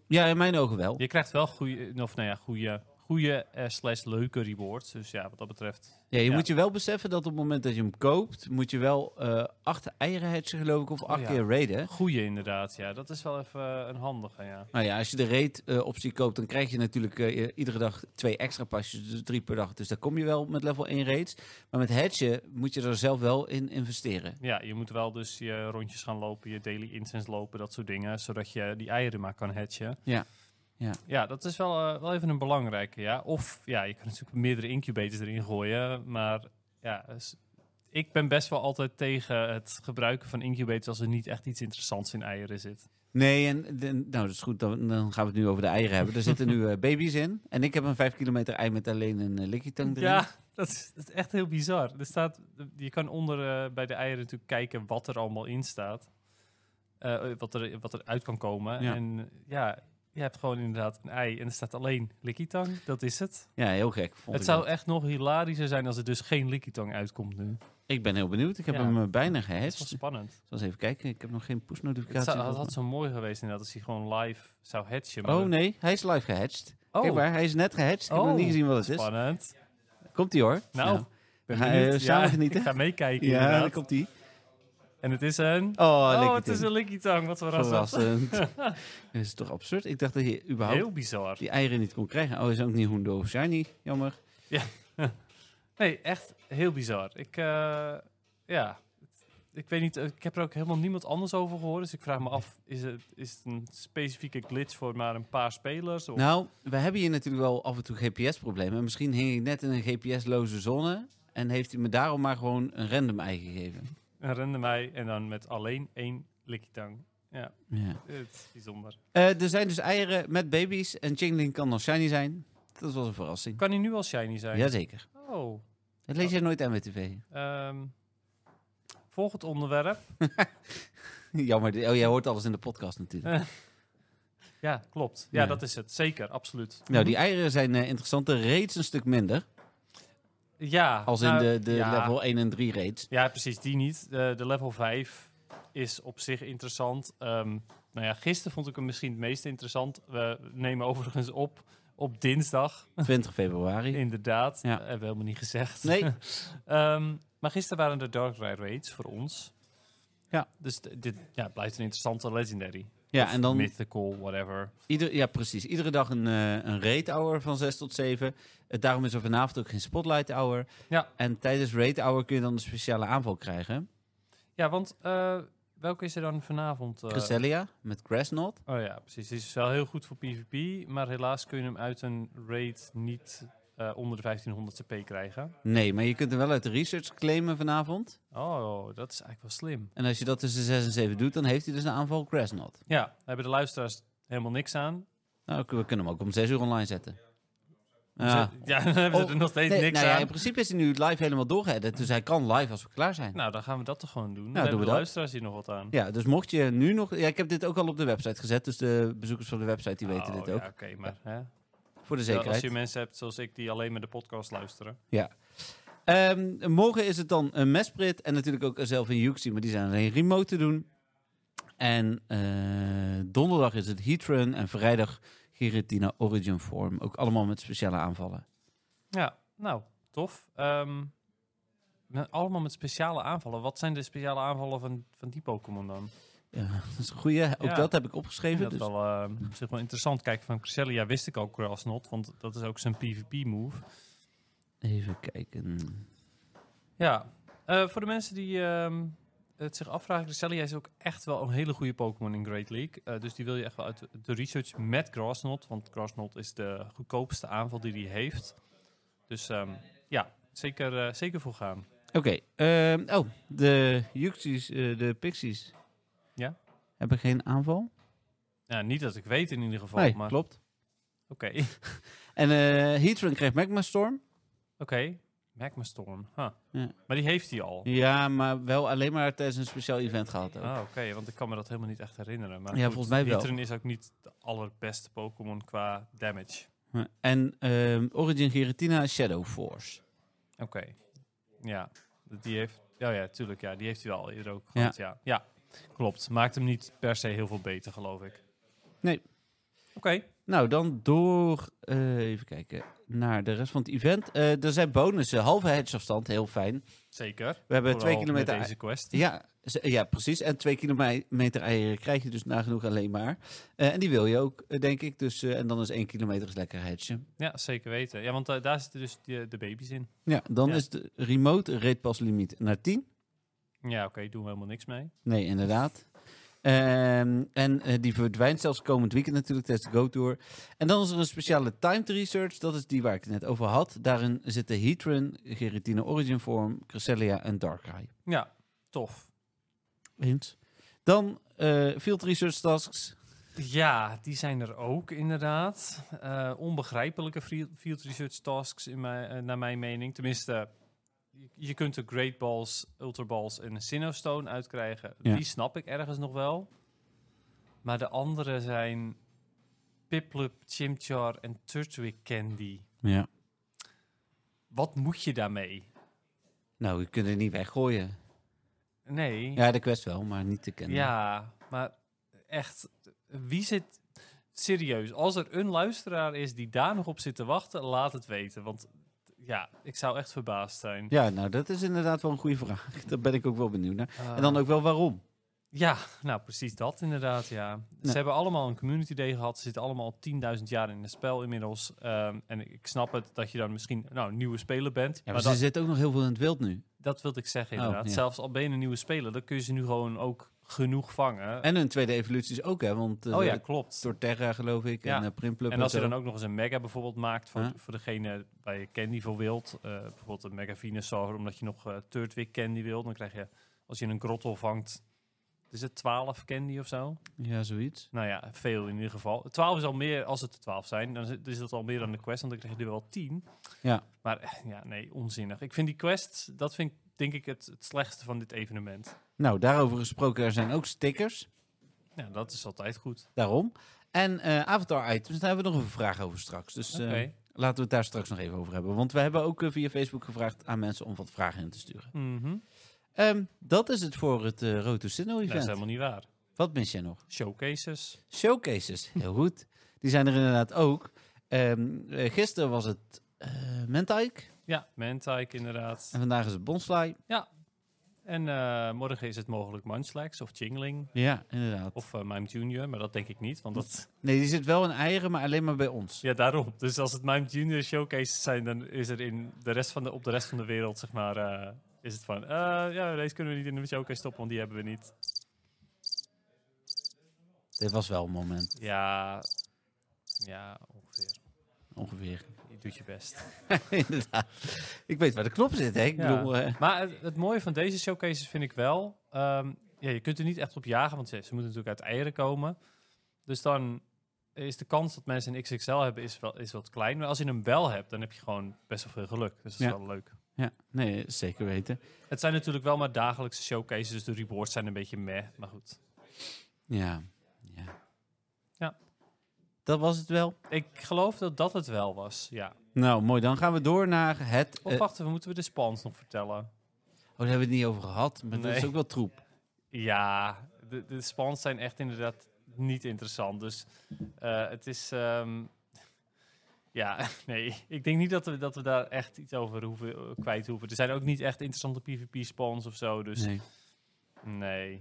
[SPEAKER 3] Ja, in mijn ogen wel.
[SPEAKER 4] Je krijgt wel goede, of nou ja, goede, goede eh, slash leuke rewards. Dus ja, wat dat betreft.
[SPEAKER 3] Ja, je
[SPEAKER 4] Ja.
[SPEAKER 3] moet je wel beseffen dat op het moment dat je hem koopt, moet je wel eh, acht eieren hatchen, geloof ik, of acht
[SPEAKER 4] Oh, ja.
[SPEAKER 3] keer raiden.
[SPEAKER 4] Goede inderdaad, ja. Dat is wel even eh, een handige, ja.
[SPEAKER 3] Nou ja, als je de raid eh, optie koopt, dan krijg je natuurlijk eh, iedere dag twee extra pasjes, dus drie per dag. Dus daar kom je wel met level 1 raids. Maar met hatchen moet je er zelf wel in investeren.
[SPEAKER 4] Ja, je moet wel dus je rondjes gaan lopen, je daily incense lopen, dat soort dingen, zodat je die eieren maar kan hatchen.
[SPEAKER 3] Ja. Ja.
[SPEAKER 4] ja dat is wel, eh, wel even een belangrijke, ja. Of, ja, je kan natuurlijk meerdere incubators erin gooien, maar ja, dus ik ben best wel altijd tegen het gebruiken van incubators als er niet echt iets interessants in eieren zit.
[SPEAKER 3] Nee, en de- nou, dat is goed, dan, dan gaan we het nu over de eieren hebben. Er zitten nu eh, baby's in. En ik heb een 5 kilometer ei met alleen een uh, erin.
[SPEAKER 4] Ja, dat is, dat is echt heel bizar. Er staat, je kan onder eh, bij de eieren natuurlijk kijken wat er allemaal in staat. Eh, wat, er, wat er uit kan komen.
[SPEAKER 3] Ja.
[SPEAKER 4] En eh, ja, je hebt gewoon inderdaad een ei en er staat alleen likitang. Dat is het.
[SPEAKER 3] Ja, heel gek. Vond
[SPEAKER 4] het
[SPEAKER 3] ik,
[SPEAKER 4] zou
[SPEAKER 3] dat.
[SPEAKER 4] echt nog hilarischer zijn als er dus geen likitang uitkomt nu.
[SPEAKER 3] ik ben heel benieuwd. Ik heb
[SPEAKER 4] Ja.
[SPEAKER 3] hem eh, bijna
[SPEAKER 4] Dat is wel
[SPEAKER 3] gehatcht.
[SPEAKER 4] spannend.
[SPEAKER 3] Zoals even kijken, ik heb nog geen
[SPEAKER 4] Het
[SPEAKER 3] pushnotificatie.
[SPEAKER 4] zou, dat
[SPEAKER 3] volgens
[SPEAKER 4] had zo mooi geweest inderdaad als hij gewoon live zou hatchen.
[SPEAKER 3] mij.
[SPEAKER 4] maar
[SPEAKER 3] Oh
[SPEAKER 4] dat-
[SPEAKER 3] nee, hij is live gehatcht.
[SPEAKER 4] Oh,
[SPEAKER 3] Kijk maar, hij is net gehatcht. Ik heb nog
[SPEAKER 4] Oh,
[SPEAKER 3] niet gezien wat het is.
[SPEAKER 4] spannend.
[SPEAKER 3] Komt hij hoor.
[SPEAKER 4] Nou,
[SPEAKER 3] Ja.
[SPEAKER 4] ben
[SPEAKER 3] Ga- eh,
[SPEAKER 4] benieuwd.
[SPEAKER 3] samen
[SPEAKER 4] Ja,
[SPEAKER 3] genieten.
[SPEAKER 4] Ik ga meekijken
[SPEAKER 3] Ja, daar
[SPEAKER 4] inderdaad.
[SPEAKER 3] komt hij.
[SPEAKER 4] En het is een...
[SPEAKER 3] Oh,
[SPEAKER 4] Oh,
[SPEAKER 3] lekker
[SPEAKER 4] het is
[SPEAKER 3] ding.
[SPEAKER 4] een likitang. Wat verrassend.
[SPEAKER 3] verrassend. dat is toch absurd? Ik dacht dat je überhaupt
[SPEAKER 4] Heel bizar.
[SPEAKER 3] die eieren niet kon krijgen. Oh, is ook niet Hundo of Shiny. Jammer.
[SPEAKER 4] Nee, echt heel bizar. Ik, eh, ja, het- ik weet niet, eh, ik heb er ook helemaal niemand anders over gehoord. Dus ik vraag me af, is het, is het een specifieke glitch voor maar een paar spelers? Of,
[SPEAKER 3] Nou, we hebben hier natuurlijk wel af en toe GPS-problemen. En Misschien hing ik net in een GPS-loze zone. En heeft hij me daarom maar gewoon een random ei gegeven.
[SPEAKER 4] Een rende mij en dan met alleen één likitang. Ja,
[SPEAKER 3] Ja.
[SPEAKER 4] het is bijzonder.
[SPEAKER 3] Eh, er zijn dus eieren met baby's. En Chingling kan nog Shiny zijn. Dat was een verrassing.
[SPEAKER 4] Kan hij nu al shiny zijn?
[SPEAKER 3] Jazeker.
[SPEAKER 4] Oh,
[SPEAKER 3] Dat lees jij nooit MWTV.
[SPEAKER 4] ehm, volgend onderwerp.
[SPEAKER 3] Jammer, die- oh, jij hoort alles in de podcast natuurlijk.
[SPEAKER 4] Ja, klopt. Ja,
[SPEAKER 3] Ja.
[SPEAKER 4] dat is het. Zeker, absoluut.
[SPEAKER 3] Nou, die eieren zijn eh, interessant. De raids een stuk minder.
[SPEAKER 4] Ja.
[SPEAKER 3] Als in
[SPEAKER 4] nou,
[SPEAKER 3] de, de
[SPEAKER 4] ja.
[SPEAKER 3] level 1 en 3 raids.
[SPEAKER 4] Ja, precies, die niet. Eh, De, de level 5 is op zich interessant. Ehm, nou ja, gisteren vond ik hem misschien het meest interessant. We nemen overigens op Op dinsdag,
[SPEAKER 3] 20 februari.
[SPEAKER 4] inderdaad.
[SPEAKER 3] Ja.
[SPEAKER 4] Eh, hebben we helemaal niet gezegd.
[SPEAKER 3] Nee,
[SPEAKER 4] Ehm, maar gisteren waren de Dark Ride Raids voor ons.
[SPEAKER 3] Ja.
[SPEAKER 4] Dus d- dit ja, blijft een interessante Legendary.
[SPEAKER 3] ja,
[SPEAKER 4] Of
[SPEAKER 3] en dan
[SPEAKER 4] Mythical, whatever.
[SPEAKER 3] Ieder, ja, precies. Iedere dag een, eh een raid hour van 6 tot 7. Eh, daarom is er vanavond ook geen spotlight hour.
[SPEAKER 4] Ja.
[SPEAKER 3] En tijdens raid hour kun je dan een speciale aanval krijgen.
[SPEAKER 4] Ja, want eh, welke is er dan vanavond? eh?
[SPEAKER 3] Cresselia met Grassnot.
[SPEAKER 4] oh ja, precies. Die is wel heel goed voor PvP. Maar helaas kun je hem uit een raid niet eh, onder de 1500 CP krijgen.
[SPEAKER 3] Nee, maar je kunt hem wel uit de research claimen vanavond.
[SPEAKER 4] Oh, dat is eigenlijk wel slim.
[SPEAKER 3] En als je dat tussen 6 en 7 doet, dan heeft hij dus een aanval Grassnot.
[SPEAKER 4] Ja, daar hebben de luisteraars helemaal niks aan.
[SPEAKER 3] Nou, we kunnen hem ook om 6 uur online zetten.
[SPEAKER 4] Ja, ja dan hebben ze
[SPEAKER 3] Oh,
[SPEAKER 4] er nog steeds
[SPEAKER 3] Nee,
[SPEAKER 4] niks
[SPEAKER 3] nou ja,
[SPEAKER 4] aan.
[SPEAKER 3] in principe is hij nu live helemaal doorgeëdit. Dus hij kan live als we klaar zijn.
[SPEAKER 4] Nou, dan gaan we dat toch gewoon doen. Dan
[SPEAKER 3] doen
[SPEAKER 4] hebben
[SPEAKER 3] we
[SPEAKER 4] de
[SPEAKER 3] dat.
[SPEAKER 4] luisteraars hier nog wat aan.
[SPEAKER 3] Ja, dus mocht je nu nog... Ja, ik heb dit ook al op de website gezet. Dus de bezoekers van de website die weten
[SPEAKER 4] Oh,
[SPEAKER 3] dit
[SPEAKER 4] ja,
[SPEAKER 3] ook.
[SPEAKER 4] Oké, maar hè?
[SPEAKER 3] Voor de
[SPEAKER 4] Zeker.
[SPEAKER 3] zekerheid.
[SPEAKER 4] als je mensen hebt zoals ik die alleen maar de podcast luisteren.
[SPEAKER 3] Ehm, morgen is het dan een mesprit en natuurlijk ook zelf in Juxi, maar die zijn alleen remote te doen. En eh, donderdag is het Heatrun en vrijdag Giratina Origin Form. Ook allemaal met speciale aanvallen.
[SPEAKER 4] Ja, nou, tof. Ehm, met- allemaal met speciale aanvallen. Wat zijn de speciale aanvallen van, van die Pokémon dan?
[SPEAKER 3] Ja, dat is een goeie. Ook
[SPEAKER 4] Ja.
[SPEAKER 3] dat heb ik
[SPEAKER 4] Ik
[SPEAKER 3] opgeschreven.
[SPEAKER 4] vind
[SPEAKER 3] Dus.
[SPEAKER 4] dat wel ehm, op zich wel interessant. Kijk, van Cresselia wist ik ook Grassnot, want dat is ook zijn PvP-move.
[SPEAKER 3] Even kijken.
[SPEAKER 4] Ja, eh, voor de mensen die ehm, het zich afvragen, Cresselia is ook echt wel een hele goede Pokémon in Great League. Eh, dus die wil je echt wel uit de- de research met Grassnot, want Grassnot is de goedkoopste aanval die hij heeft. Dus ehm, ja, zeker, eh, zeker voor gaan.
[SPEAKER 3] Oké. ehm, oh, de Juxies, eh, de Pixies.
[SPEAKER 4] Ja?
[SPEAKER 3] Hebben geen aanval?
[SPEAKER 4] Ja, niet dat ik weet in ieder geval,
[SPEAKER 3] nee,
[SPEAKER 4] maar oké.
[SPEAKER 3] klopt.
[SPEAKER 4] Oké,
[SPEAKER 3] En eh Heatrun kreeg Magma Storm.
[SPEAKER 4] Magma Storm. huh.
[SPEAKER 3] Ja.
[SPEAKER 4] Maar die heeft hij al.
[SPEAKER 3] Ja, maar wel alleen maar tijdens een speciaal event gehad ook.
[SPEAKER 4] Ah, oké, want ik kan me dat helemaal niet echt herinneren. Maar
[SPEAKER 3] Ja,
[SPEAKER 4] goed,
[SPEAKER 3] volgens mij wel.
[SPEAKER 4] Nidoran is ook niet de allerbeste Pokémon qua damage.
[SPEAKER 3] Ja, En ehm, Origin Giratina Shadow Force.
[SPEAKER 4] Oké. Ja, die heeft. oh Ja, ja, tuurlijk. Ja, die heeft hij al eerder ook gehad. Ja. ja, klopt. Maakt hem niet per se heel veel beter, geloof ik.
[SPEAKER 3] Nee.
[SPEAKER 4] Oké.
[SPEAKER 3] Nou, dan door, eh, even kijken, naar de rest van het event. Eh, er zijn bonussen, halve hedgeafstand, heel fijn.
[SPEAKER 4] Zeker.
[SPEAKER 3] We hebben twee
[SPEAKER 4] Vooral
[SPEAKER 3] kilometer...
[SPEAKER 4] Met deze quest.
[SPEAKER 3] Ja, ze- ja, precies. En twee kilometer eieren krijg je dus nagenoeg alleen maar. Eh, en die wil je ook, eh, denk ik. Dus, eh, en dan is één kilometer is lekker hedge.
[SPEAKER 4] Ja, zeker weten. Ja, want eh, daar zitten dus die- de baby's in.
[SPEAKER 3] Ja, dan
[SPEAKER 4] Ja.
[SPEAKER 3] is de remote reetpaslimiet naar 10.
[SPEAKER 4] Ja, oké. doen we helemaal niks mee.
[SPEAKER 3] Nee, inderdaad. Ehm, en eh, die verdwijnt zelfs komend weekend natuurlijk tijdens de Go-Tour. En dan is er een speciale timed research. Dat is die waar ik het net over had. Daarin zitten Heatran, Giratina Origin Form, Cresselia en Darkrai.
[SPEAKER 4] Ja, tof.
[SPEAKER 3] Hint. Dan eh, field research tasks.
[SPEAKER 4] Ja, die zijn er ook inderdaad. Eh, onbegrijpelijke frie- field research tasks in mijn, eh, naar mijn mening. Tenminste, je- je kunt de Great Balls, Ultra Balls en een Sinnoh-stone uitkrijgen.
[SPEAKER 3] Ja.
[SPEAKER 4] Die snap ik ergens nog wel. Maar de andere zijn Piplup, Chimchar en Turtwig Candy.
[SPEAKER 3] Ja.
[SPEAKER 4] Wat moet je daarmee?
[SPEAKER 3] Nou, je kunt het niet weggooien.
[SPEAKER 4] Nee.
[SPEAKER 3] Ja, de quest wel, maar niet te kennen.
[SPEAKER 4] Ja,
[SPEAKER 3] eh,
[SPEAKER 4] maar echt, wie zit. Serieus, als er een luisteraar is die daar nog op zit te wachten, laat het weten. Want ja, ik zou echt verbaasd zijn.
[SPEAKER 3] Ja, nou, dat is inderdaad wel een goede vraag. Daar ben ik ook wel benieuwd naar.
[SPEAKER 4] Eh,
[SPEAKER 3] En dan ook wel waarom.
[SPEAKER 4] Ja, nou precies dat inderdaad, ja.
[SPEAKER 3] Nee.
[SPEAKER 4] Ze hebben allemaal een community day gehad. Ze zitten allemaal al 10.000 jaar in het spel inmiddels. Ehm, en ik snap het dat je dan misschien nou, een nieuwe speler bent.
[SPEAKER 3] Ja, maar
[SPEAKER 4] maar
[SPEAKER 3] ze
[SPEAKER 4] dat,
[SPEAKER 3] zitten ook nog heel veel in het wild nu.
[SPEAKER 4] dat wilde ik zeggen
[SPEAKER 3] Oh,
[SPEAKER 4] inderdaad.
[SPEAKER 3] ja.
[SPEAKER 4] Zelfs al ben je een nieuwe speler, dan kun je ze nu gewoon ook genoeg vangen.
[SPEAKER 3] En hun tweede evoluties ook, hè? Want eh,
[SPEAKER 4] oh ja, klopt.
[SPEAKER 3] door Terra, geloof ik,
[SPEAKER 4] Ja.
[SPEAKER 3] en eh, Primplup.
[SPEAKER 4] En als
[SPEAKER 3] zo.
[SPEAKER 4] je dan ook nog eens een mega bijvoorbeeld maakt voor,
[SPEAKER 3] Ja.
[SPEAKER 4] voor degene waar je candy voor wilt, eh, bijvoorbeeld een mega Venusaur, omdat je nog eh Turtwig candy wilt, dan krijg je, als je een grotto vangt, is het 12 candy of zo?
[SPEAKER 3] Ja, zoiets.
[SPEAKER 4] Nou ja, veel in ieder geval. 12 is al meer, als het er 12 zijn, dan is het- is dat al meer dan de quest, want dan krijg je er wel 10.
[SPEAKER 3] Ja.
[SPEAKER 4] Maar eh, ja, nee, onzinnig. Ik vind die quests, dat vind ik denk ik het, het slechtste van dit evenement.
[SPEAKER 3] Nou, daarover gesproken, er zijn ook stickers.
[SPEAKER 4] Ja, dat is altijd goed.
[SPEAKER 3] Daarom. En eh, avatar items, daar hebben we nog een vraag over straks. Dus eh,
[SPEAKER 4] Oké.
[SPEAKER 3] laten we het daar straks nog even over hebben. Want we hebben ook eh, via Facebook gevraagd aan mensen om wat vragen in te sturen.
[SPEAKER 4] Mhm.
[SPEAKER 3] Ehm, dat is het voor het eh Roto Sinnoh
[SPEAKER 4] Dat is
[SPEAKER 3] event.
[SPEAKER 4] helemaal niet waar.
[SPEAKER 3] Wat mis jij nog?
[SPEAKER 4] Showcases.
[SPEAKER 3] Showcases. Heel goed. Die zijn er inderdaad ook. Eh, Ehm, eh, gisteren was het eh Mentaik.
[SPEAKER 4] Ja, Mentaik inderdaad.
[SPEAKER 3] En vandaag is het Bonsly.
[SPEAKER 4] En eh, morgen is het mogelijk Munchlax of Chingling
[SPEAKER 3] Ja, inderdaad.
[SPEAKER 4] of eh, Mime Junior, maar dat denk ik niet, want dat...
[SPEAKER 3] Nee, die zit wel in eieren, maar alleen maar bij ons.
[SPEAKER 4] Ja, daarom. Dus als het Mime Junior showcases zijn, dan is er in de rest van de, op de rest van de wereld, zeg maar, eh, is het van, eh, ja, deze kunnen we niet in de showcase stoppen, want die hebben we niet.
[SPEAKER 3] Dit was wel een moment,
[SPEAKER 4] Ja, ja, ongeveer.
[SPEAKER 3] ongeveer.
[SPEAKER 4] Je doet je best.
[SPEAKER 3] inderdaad. Ik weet waar de knop zit, hè? Ik
[SPEAKER 4] Ja.
[SPEAKER 3] bedoel, eh,
[SPEAKER 4] Maar het, het mooie van deze showcases vind ik wel, ehm, ja, je kunt er niet echt op jagen, want ze, ze moeten natuurlijk uit eieren komen. Dus dan is de kans dat mensen een XXL hebben is wel, is wat klein. Maar als je hem wel hebt, dan heb je gewoon best wel veel geluk. Dus dat is
[SPEAKER 3] Ja.
[SPEAKER 4] wel leuk.
[SPEAKER 3] ja, nee, zeker weten.
[SPEAKER 4] Het zijn natuurlijk wel maar dagelijkse showcases, dus de rewards zijn een beetje meh. Maar goed,
[SPEAKER 3] Ja, ja.
[SPEAKER 4] Ja.
[SPEAKER 3] Dat was het wel.
[SPEAKER 4] ik geloof dat dat het wel was, ja.
[SPEAKER 3] Nou, mooi. Dan gaan we door naar het... eh,
[SPEAKER 4] Of Oh, wacht even, moeten we de spons nog vertellen?
[SPEAKER 3] oh, daar hebben we het niet over gehad, maar dat is
[SPEAKER 4] Nee.
[SPEAKER 3] ook wel troep.
[SPEAKER 4] Ja, de, de spons zijn echt inderdaad niet interessant. Dus eh, het is. ehm, ja, nee. Ik denk niet dat we, dat we daar echt iets over hoeven, eh, kwijt hoeven. Er zijn ook niet echt interessante PvP-spawns of zo. Dus nee.
[SPEAKER 3] Nee.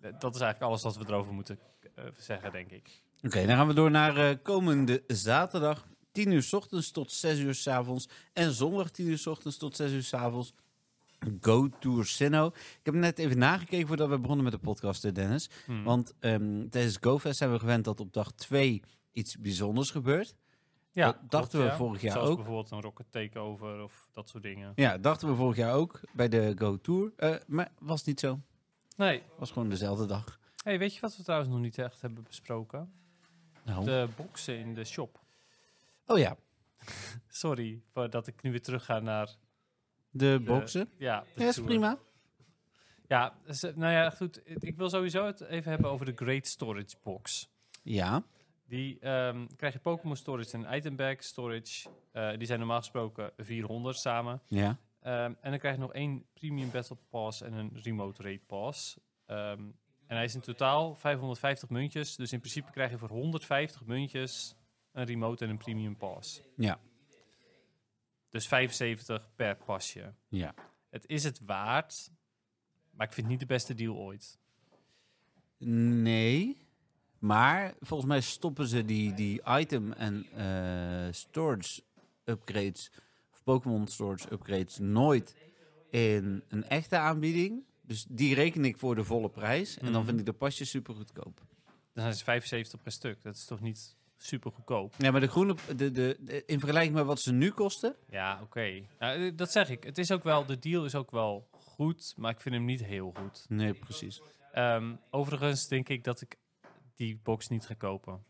[SPEAKER 4] D- Dat is eigenlijk alles wat we erover moeten eh, zeggen, denk ik.
[SPEAKER 3] Oké, dan gaan we door naar eh, komende zaterdag. 10 uur 's ochtends tot 6 uur 's avonds. En zondag 10 uur 's ochtends tot 6 uur 's avonds. Go Tour Sinnoh. Ik heb net even nagekeken voordat we begonnen met de podcast, eh, Dennis.
[SPEAKER 4] Hmm.
[SPEAKER 3] Want ehm, tijdens GoFest zijn we gewend dat op dag 2 iets bijzonders gebeurt. dat eh, dachten
[SPEAKER 4] klopt,
[SPEAKER 3] we vorig jaar
[SPEAKER 4] Zoals
[SPEAKER 3] ook.
[SPEAKER 4] bijvoorbeeld een rocket takeover of dat soort dingen.
[SPEAKER 3] Ja, dachten we vorig jaar ook bij de Go Tour. Eh, maar was niet zo.
[SPEAKER 4] Nee.
[SPEAKER 3] Was gewoon dezelfde dag.
[SPEAKER 4] Hey, weet je wat we trouwens nog niet echt hebben besproken?
[SPEAKER 3] Nou.
[SPEAKER 4] De boxen in de shop.
[SPEAKER 3] Oh ja,
[SPEAKER 4] Sorry voor dat ik nu weer terug ga naar.
[SPEAKER 3] de boxen.
[SPEAKER 4] Ja, de
[SPEAKER 3] Ja, is
[SPEAKER 4] tour.
[SPEAKER 3] prima.
[SPEAKER 4] Ja, ze- nou ja, goed. Ik wil sowieso het even hebben over de Great Storage Box.
[SPEAKER 3] Ja,
[SPEAKER 4] Die ehm, krijg je Pokémon Storage en Item Bag Storage. Eh, die zijn normaal gesproken 400 samen.
[SPEAKER 3] ja.
[SPEAKER 4] Ehm, en dan krijg je nog één Premium Battle Pass en een Remote Raid Pass. Ehm, en hij is in totaal 550 muntjes. Dus in principe krijg je voor 150 muntjes een Remote en een Premium Pass.
[SPEAKER 3] Ja.
[SPEAKER 4] Dus 75 per pasje.
[SPEAKER 3] Ja.
[SPEAKER 4] Het is het waard, maar ik vind het niet de beste deal ooit.
[SPEAKER 3] Nee. Maar volgens mij stoppen ze die, die item en eh, storage upgrades, of Pokémon storage upgrades, nooit in een echte aanbieding. Dus die reken ik voor de volle prijs. En dan
[SPEAKER 4] Mhm.
[SPEAKER 3] vind ik de pasjes super goedkoop.
[SPEAKER 4] Dan zijn ze 75 per stuk. Dat is toch niet super goedkoop?
[SPEAKER 3] Ja, maar de groene, de, de, de- in vergelijking met wat ze nu kosten.
[SPEAKER 4] Ja, oké. Nou, eh, dat zeg ik. Het is ook wel, de deal is ook wel goed, maar ik vind hem niet heel goed.
[SPEAKER 3] Nee, precies.
[SPEAKER 4] Ehm, overigens denk ik dat ik die box niet ga kopen.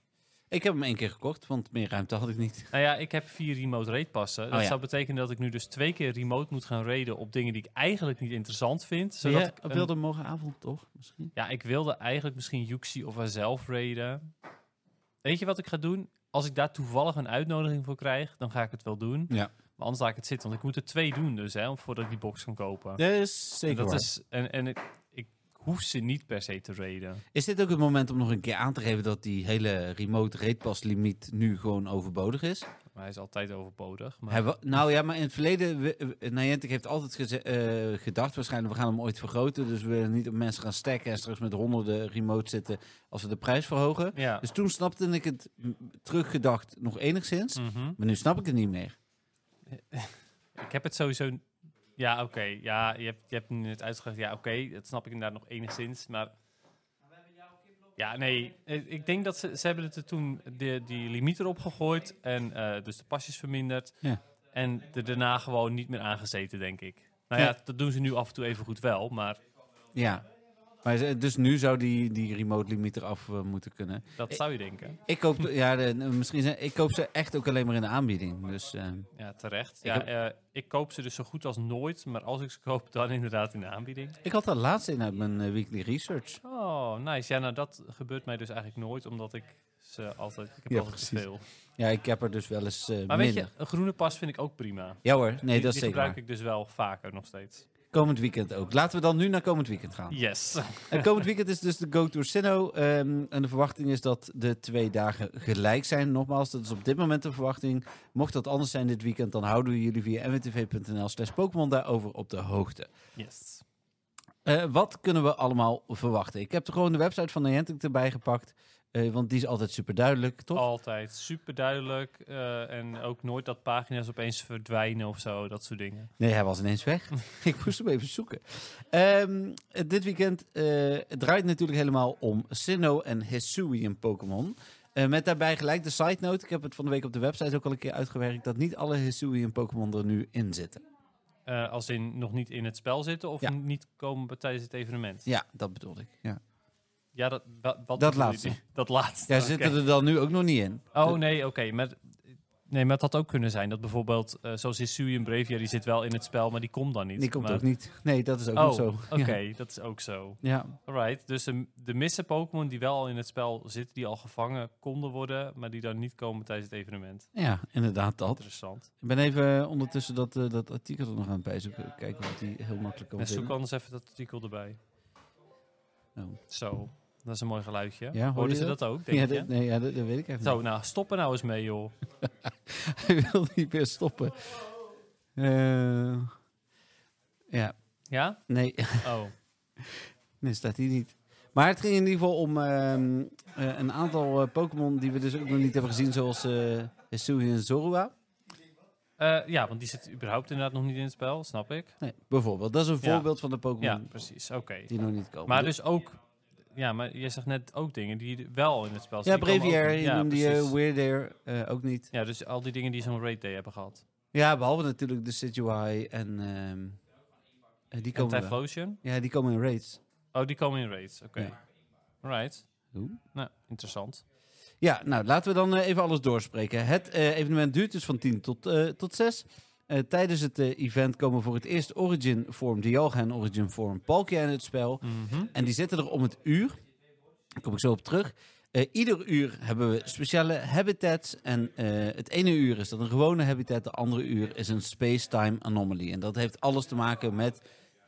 [SPEAKER 3] Ik heb hem één keer gekocht, want meer ruimte had ik niet.
[SPEAKER 4] Nou ja, ik heb vier remote raid passen. Dat
[SPEAKER 3] Oh ja.
[SPEAKER 4] zou betekenen dat ik nu dus twee keer remote moet gaan raiden op dingen die ik eigenlijk niet interessant vind. Zodat
[SPEAKER 3] ja,
[SPEAKER 4] ik
[SPEAKER 3] op
[SPEAKER 4] een-
[SPEAKER 3] wilde morgenavond toch? Misschien.
[SPEAKER 4] Ja, ik wilde eigenlijk misschien Yuxi of zelf raiden. Weet je wat ik ga doen? Als ik daar toevallig een uitnodiging voor krijg, dan ga ik het wel doen.
[SPEAKER 3] Ja.
[SPEAKER 4] Maar anders laat ik het zitten, want ik moet er twee doen dus, hè, om- voordat ik die box kan kopen.
[SPEAKER 3] Dat is
[SPEAKER 4] En
[SPEAKER 3] zeker
[SPEAKER 4] dat
[SPEAKER 3] waar.
[SPEAKER 4] is, en, en ik, ik hoef ze niet per se te raiden.
[SPEAKER 3] Is dit ook het moment om nog een keer aan te geven dat die hele remote ratepass limiet nu gewoon overbodig is?
[SPEAKER 4] Maar hij is altijd overbodig. Maar
[SPEAKER 3] Hij wa- nou ja, maar in het verleden, we- we- Niantic heeft altijd geze- eh, gedacht waarschijnlijk, we gaan hem ooit vergroten. Dus we willen niet op mensen gaan stekken en straks met honderden remote zitten als we de prijs verhogen.
[SPEAKER 4] ja.
[SPEAKER 3] Dus toen snapte ik het m, teruggedacht nog enigszins.
[SPEAKER 4] Mhm.
[SPEAKER 3] Maar nu snap ik het niet meer.
[SPEAKER 4] Ik heb het sowieso... Ja, oké. Ja, je hebt, je hebt nu het uitgelegd. Ja, oké. Dat snap ik inderdaad nog enigszins, maar... Ja, nee. eh, Ik denk dat ze... Ze hebben het er toen de, die limiet erop gegooid. En eh, dus de pasjes verminderd.
[SPEAKER 3] Ja.
[SPEAKER 4] En er daarna gewoon niet meer aangezeten, denk ik. Nou ja,
[SPEAKER 3] Ja.
[SPEAKER 4] dat doen ze nu af en toe even goed wel, maar
[SPEAKER 3] Ja. Maar ze- dus nu zou die, die remote limiet eraf eh, moeten kunnen.
[SPEAKER 4] dat zou je denken.
[SPEAKER 3] Ik koop, ja, de- misschien zijn, ik koop ze echt ook alleen maar in de aanbieding. Dus eh,
[SPEAKER 4] Ja, terecht.
[SPEAKER 3] Ik
[SPEAKER 4] Ja,
[SPEAKER 3] heb-
[SPEAKER 4] ik, ik koop ze dus zo goed als nooit. Maar als ik ze koop, dan inderdaad in de aanbieding.
[SPEAKER 3] ik had dat laatst in uit mijn eh, weekly research.
[SPEAKER 4] Oh, nice. Ja, nou dat gebeurt mij dus eigenlijk nooit. Omdat ik ze altijd... Ik heb
[SPEAKER 3] Ja,
[SPEAKER 4] altijd te
[SPEAKER 3] precies.
[SPEAKER 4] veel.
[SPEAKER 3] Ja, ik heb er dus wel eens eh,
[SPEAKER 4] Maar weet
[SPEAKER 3] minder.
[SPEAKER 4] je, een groene pas vind ik ook prima.
[SPEAKER 3] Ja hoor, nee,
[SPEAKER 4] Die-
[SPEAKER 3] dat is
[SPEAKER 4] die
[SPEAKER 3] zeker
[SPEAKER 4] gebruik
[SPEAKER 3] waar.
[SPEAKER 4] ik dus wel vaker nog steeds.
[SPEAKER 3] Komend weekend ook. Laten we dan nu naar komend weekend gaan.
[SPEAKER 4] Yes.
[SPEAKER 3] En komend weekend is dus de Go Tour Sinnoh. ehm, en de verwachting is dat de twee dagen gelijk zijn. Nogmaals, dat is op dit moment de verwachting. Mocht dat anders zijn dit weekend, dan houden we jullie via mwtv.nl slash Pokémon daarover op de hoogte.
[SPEAKER 4] Yes.
[SPEAKER 3] Eh, wat kunnen we allemaal verwachten? Ik heb er gewoon de website van Niantic erbij gepakt. eh, want die is altijd super duidelijk,
[SPEAKER 4] Oh,
[SPEAKER 3] toch?
[SPEAKER 4] Altijd super duidelijk. en ook nooit dat pagina's opeens verdwijnen of zo, dat soort dingen.
[SPEAKER 3] Nee, hij was ineens weg. ik moest hem even zoeken. Ehm, dit weekend eh, het draait natuurlijk helemaal om Sinnoh en Hisuian Pokémon. Eh, met daarbij gelijk de side note. Ik heb het van de week op de website ook al een keer uitgewerkt. Dat niet alle Hisuian Pokémon er nu in zitten.
[SPEAKER 4] Eh, als in nog niet in het spel zitten of
[SPEAKER 3] Ja.
[SPEAKER 4] niet komen bij- tijdens het evenement.
[SPEAKER 3] Ja, dat bedoel ik. Ja.
[SPEAKER 4] Ja, dat, wa- wat bedoel
[SPEAKER 3] Dat
[SPEAKER 4] je?
[SPEAKER 3] laatste.
[SPEAKER 4] Dat laatste.
[SPEAKER 3] Ja,
[SPEAKER 4] oké.
[SPEAKER 3] zitten er dan nu ook nog niet in.
[SPEAKER 4] Oh nee, oké. maar, nee, maar het had ook kunnen zijn dat bijvoorbeeld, eh zoals Hisuian Bravia, die zit wel in het spel, maar die komt dan niet.
[SPEAKER 3] Die komt
[SPEAKER 4] Maar-
[SPEAKER 3] ook niet. Nee, dat is ook
[SPEAKER 4] Oh,
[SPEAKER 3] nog zo.
[SPEAKER 4] oké, dat is ook zo.
[SPEAKER 3] Ja. ja.
[SPEAKER 4] Alright, dus de, de missen Pokémon die wel al in het spel zitten, die al gevangen konden worden, maar die dan niet komen tijdens het evenement.
[SPEAKER 3] Ja, inderdaad dat.
[SPEAKER 4] Interessant.
[SPEAKER 3] Ik ben even eh, ondertussen dat, eh, dat artikel er nog aan het bijzoeken. Kijken of ik die heel makkelijk kan
[SPEAKER 4] En zoek
[SPEAKER 3] vinden.
[SPEAKER 4] anders even dat artikel erbij.
[SPEAKER 3] Oh.
[SPEAKER 4] Zo, dat is een mooi geluidje.
[SPEAKER 3] Ja, hoor
[SPEAKER 4] Hoorden
[SPEAKER 3] je
[SPEAKER 4] ze
[SPEAKER 3] dat?
[SPEAKER 4] dat, ook, denk
[SPEAKER 3] Ja,
[SPEAKER 4] je?
[SPEAKER 3] dat, nee, ja, dat, dat weet ik echt niet.
[SPEAKER 4] Zo, nou, stop er nou eens mee, joh.
[SPEAKER 3] Hij wil niet meer stoppen. Eh, ja,
[SPEAKER 4] Ja?
[SPEAKER 3] nee,
[SPEAKER 4] Oh,
[SPEAKER 3] nee, staat hier niet. Maar het ging in ieder geval om ehm, eh, een aantal eh, Pokémon die we dus ook nog niet hebben gezien, zoals eh Hisuian en Zorua.
[SPEAKER 4] Eh, ja, want die zit überhaupt inderdaad nog niet in het spel, snap ik.
[SPEAKER 3] Nee, bijvoorbeeld. Dat is een
[SPEAKER 4] Ja.
[SPEAKER 3] voorbeeld van de Pokémon
[SPEAKER 4] Ja, precies, oké.
[SPEAKER 3] die nog niet komen.
[SPEAKER 4] Maar dus ook, ja, maar jij zegt net ook dingen die wel in het spel
[SPEAKER 3] ja,
[SPEAKER 4] zitten. die komen ook
[SPEAKER 3] Breviair,
[SPEAKER 4] niet.
[SPEAKER 3] je
[SPEAKER 4] Ja,
[SPEAKER 3] noemde je
[SPEAKER 4] precies.
[SPEAKER 3] Weirdair eh, ook niet.
[SPEAKER 4] Ja, dus al die dingen die zo'n raid day hebben gehad.
[SPEAKER 3] Ja, behalve natuurlijk de Situai en ehm, eh, die
[SPEAKER 4] En
[SPEAKER 3] komen wel.
[SPEAKER 4] Typhlosion?
[SPEAKER 3] Ja, die komen in raids.
[SPEAKER 4] Oh, die komen in raids, oké.
[SPEAKER 3] Ja.
[SPEAKER 4] Alright.
[SPEAKER 3] Oeh.
[SPEAKER 4] Nou, interessant.
[SPEAKER 3] Ja, nou laten we dan eh, even alles doorspreken. Het eh, evenement duurt dus van 10 tot, eh, tot 6. Eh, tijdens het eh, event komen voor het eerst Origin Form Dialga en Origin Form Palkia in het spel.
[SPEAKER 4] Mhm.
[SPEAKER 3] En die zitten er om het uur. Daar kom ik zo op terug. Eh, ieder uur hebben we speciale habitats. En eh, het ene uur is dat een gewone habitat. De andere uur is een space-time anomaly. En dat heeft alles te maken met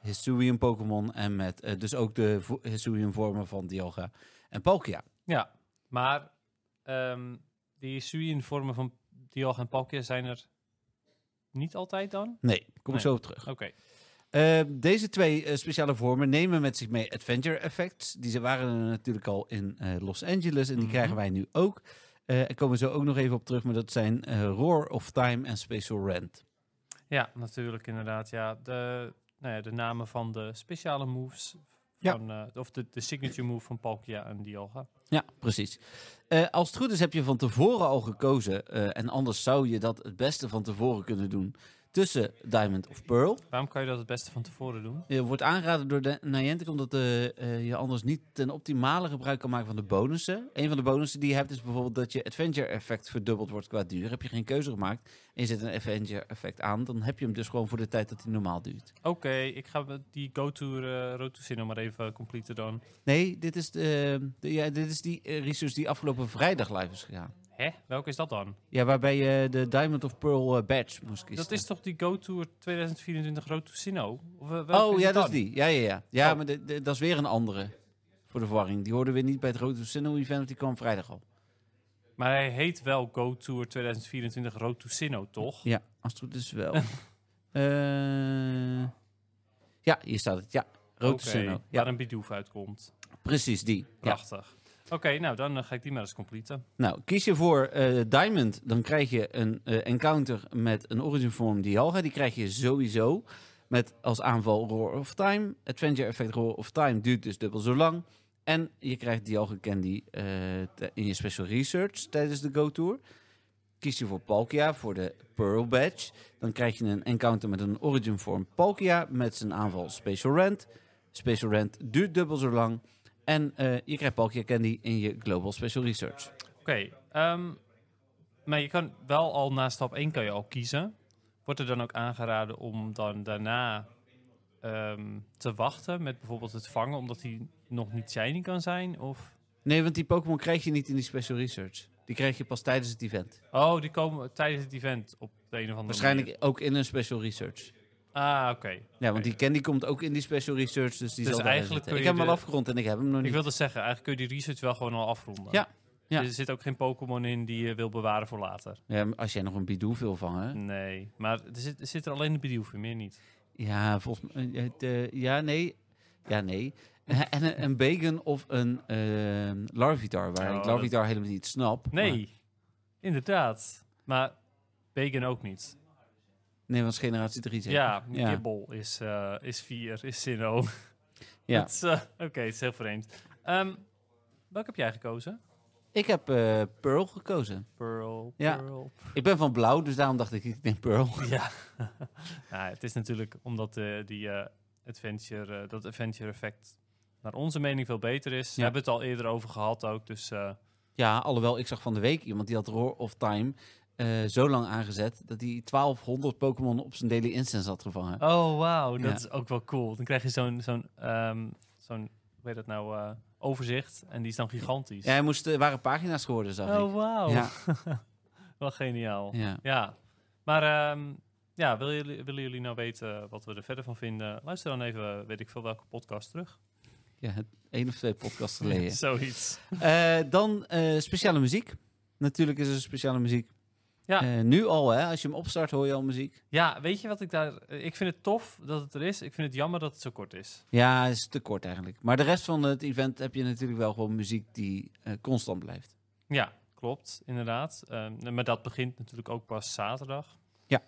[SPEAKER 3] Hisuian Pokémon. En met eh, dus ook de vo- Hisuian vormen van Dialga en Palkia.
[SPEAKER 4] Ja, maar ehm die Suien-vormen van Dialga en Palkia zijn er niet altijd dan?
[SPEAKER 3] Nee, daar kom
[SPEAKER 4] Nee.
[SPEAKER 3] ik zo op terug.
[SPEAKER 4] Oké.
[SPEAKER 3] Eh, deze twee eh, speciale vormen nemen met zich mee adventure effects. Die ze- waren er natuurlijk al in eh, Los Angeles en die
[SPEAKER 4] Mhm.
[SPEAKER 3] krijgen wij nu ook. Eh daar komen we zo ook nog even op terug, maar dat zijn eh, Roar of Time en Special Rent.
[SPEAKER 4] Ja, natuurlijk inderdaad. Ja, de, nou ja, de namen van de speciale moves.
[SPEAKER 3] Ja.
[SPEAKER 4] Van, eh, of de, de signature move van Palkia en Dialga.
[SPEAKER 3] Ja, precies. Eh, als het goed is heb je van tevoren al gekozen, eh, en anders zou je dat het beste van tevoren kunnen doen, tussen Diamond of Pearl.
[SPEAKER 4] Waarom kan je dat het beste van tevoren doen?
[SPEAKER 3] Je Eh, wordt aangeraden door de Niantic omdat eh, eh, je anders niet ten optimale gebruik kan maken van de bonussen. Een van de bonussen die je hebt is bijvoorbeeld dat je adventure effect verdubbeld wordt qua duur. Heb je geen keuze gemaakt en je zet een adventure effect aan, dan heb je hem dus gewoon voor de tijd dat hij normaal duurt.
[SPEAKER 4] Oké, ik ga met die go-to eh Road to Sinnoh maar even completen dan.
[SPEAKER 3] Nee, dit is, de, de- ja, dit is die eh, research die afgelopen vrijdag live is gegaan.
[SPEAKER 4] Hè? Welke is dat dan?
[SPEAKER 3] Ja, waarbij je de Diamond of Pearl eh, badge moest kiezen.
[SPEAKER 4] Dat is toch die Go Tour 2024 Road to Sinnoh? Of, eh, welke
[SPEAKER 3] Oh ja,
[SPEAKER 4] het
[SPEAKER 3] dat is
[SPEAKER 4] dan?
[SPEAKER 3] die. Ja, ja, ja. Ja,
[SPEAKER 4] Oh.
[SPEAKER 3] maar de- de- dat is weer een andere. Voor de verwarring. Die hoorden we niet bij het Rode Sinnoh event, want die kwam vrijdag al.
[SPEAKER 4] Maar hij heet wel Go Tour 2024 Road to Sinnoh, toch?
[SPEAKER 3] Ja, als het goed is wel. Eh, ja, hier staat het. Ja, rood
[SPEAKER 4] Oké,
[SPEAKER 3] Sinnoh.
[SPEAKER 4] Waar
[SPEAKER 3] Ja,
[SPEAKER 4] een Bidoof uitkomt.
[SPEAKER 3] precies die. Ja.
[SPEAKER 4] Prachtig. Oké, nou dan eh, ga ik die maar eens completen.
[SPEAKER 3] Nou, kies je voor eh, Diamond, dan krijg je een eh, encounter met een Origin Form Dialga. Die krijg je sowieso met als aanval Roar of Time. Adventure Effect Roar of Time duurt dus dubbel zo lang. En je krijgt Dialga Candy eh, te- in je special research tijdens de Go Tour. Kies je voor Palkia, voor de Pearl Badge. Dan krijg je een encounter met een Origin Form Palkia met zijn aanval Special Rant. Special Rant duurt dubbel zo lang. En eh, je krijgt Palkia Candy in je Global Special Research.
[SPEAKER 4] Oké, ehm, maar je kan wel al na stap 1 kan je al kiezen. Wordt er dan ook aangeraden om dan daarna ehm, te wachten met bijvoorbeeld het vangen, omdat die nog niet shiny kan zijn? Of...
[SPEAKER 3] Nee, want die Pokémon krijg je niet in die special research. Die krijg je pas tijdens het event.
[SPEAKER 4] Oh, die komen tijdens het event op de een of andere
[SPEAKER 3] Waarschijnlijk ook in een special research.
[SPEAKER 4] manier. Ah, oké.
[SPEAKER 3] Ja, want
[SPEAKER 4] Oké.
[SPEAKER 3] die candy komt ook in die special research, dus die
[SPEAKER 4] Dus
[SPEAKER 3] zal daarin
[SPEAKER 4] eigenlijk
[SPEAKER 3] zitten. Ik
[SPEAKER 4] kun je
[SPEAKER 3] heb hem al
[SPEAKER 4] de-
[SPEAKER 3] afgerond en ik heb hem nog
[SPEAKER 4] Ik
[SPEAKER 3] niet.
[SPEAKER 4] wilde zeggen, eigenlijk kun je die research wel gewoon al afronden.
[SPEAKER 3] Ja, ja.
[SPEAKER 4] Er zit ook geen Pokémon in die je wil bewaren voor later.
[SPEAKER 3] Ja, maar als jij nog een Bidoof wil vangen.
[SPEAKER 4] Nee, maar er zit, er zit er alleen de Bidoof in, meer niet.
[SPEAKER 3] Ja, volgens mij... eh, het, eh, ja, nee. Ja, nee. Eh, En een, een Bacon of een ehm, Larvitar, waar
[SPEAKER 4] Oh,
[SPEAKER 3] ik
[SPEAKER 4] dat-
[SPEAKER 3] Larvitar helemaal niet snap.
[SPEAKER 4] Nee,
[SPEAKER 3] maar-
[SPEAKER 4] inderdaad. Maar Bacon ook niet.
[SPEAKER 3] nee, want generatie 3 zeker?
[SPEAKER 4] Ja,
[SPEAKER 3] Ja.
[SPEAKER 4] Gibbel is, eh, is vier, is Sinnoh.
[SPEAKER 3] Ja.
[SPEAKER 4] Het is, eh, Oké, het is heel vreemd. Ehm welke heb jij gekozen?
[SPEAKER 3] Ik heb eh, Pearl gekozen.
[SPEAKER 4] Pearl,
[SPEAKER 3] Ja.
[SPEAKER 4] Pearl.
[SPEAKER 3] Ik ben van blauw, dus daarom dacht ik, ik neem Pearl.
[SPEAKER 4] Ja. nou, het is natuurlijk omdat eh, die, eh, adventure, eh, dat adventure effect naar onze mening veel beter is. We
[SPEAKER 3] Ja.
[SPEAKER 4] hebben het al eerder over gehad ook, dus... eh,
[SPEAKER 3] Ja, alhoewel ik zag van de week iemand die had Roar of Time eh, zo lang aangezet dat hij 1200 Pokémon op zijn Daily Instance had gevangen.
[SPEAKER 4] Oh, wauw. Dat
[SPEAKER 3] Ja.
[SPEAKER 4] is ook wel cool. Dan krijg je zo'n, zo'n, ehm, zo'n hoe heet dat nou, eh, overzicht. En die is dan gigantisch.
[SPEAKER 3] Ja, hij moest, er waren pagina's geworden, zag
[SPEAKER 4] oh,
[SPEAKER 3] ik.
[SPEAKER 4] wauw.
[SPEAKER 3] Ja.
[SPEAKER 4] wel geniaal. Ja.
[SPEAKER 3] Ja.
[SPEAKER 4] Maar ehm, ja, willen jullie, willen jullie nou weten wat we er verder van vinden? Luister dan even, eh, weet ik veel, welke podcast terug.
[SPEAKER 3] ja, het één of twee podcasts geleden.
[SPEAKER 4] Zoiets.
[SPEAKER 3] Eh, dan eh, speciale muziek. Natuurlijk is er speciale muziek.
[SPEAKER 4] Ja.
[SPEAKER 3] Eh, nu al, hè. Als je hem opstart hoor je al muziek.
[SPEAKER 4] Ja, weet je wat ik daar... eh, Ik vind het tof dat het er is. Ik vind het jammer dat het zo kort is.
[SPEAKER 3] Ja, is te kort eigenlijk. Maar de rest van het event heb je natuurlijk wel gewoon muziek die eh, constant blijft.
[SPEAKER 4] Ja, klopt, inderdaad. Ehm, maar dat begint natuurlijk ook pas zaterdag.
[SPEAKER 3] Ja.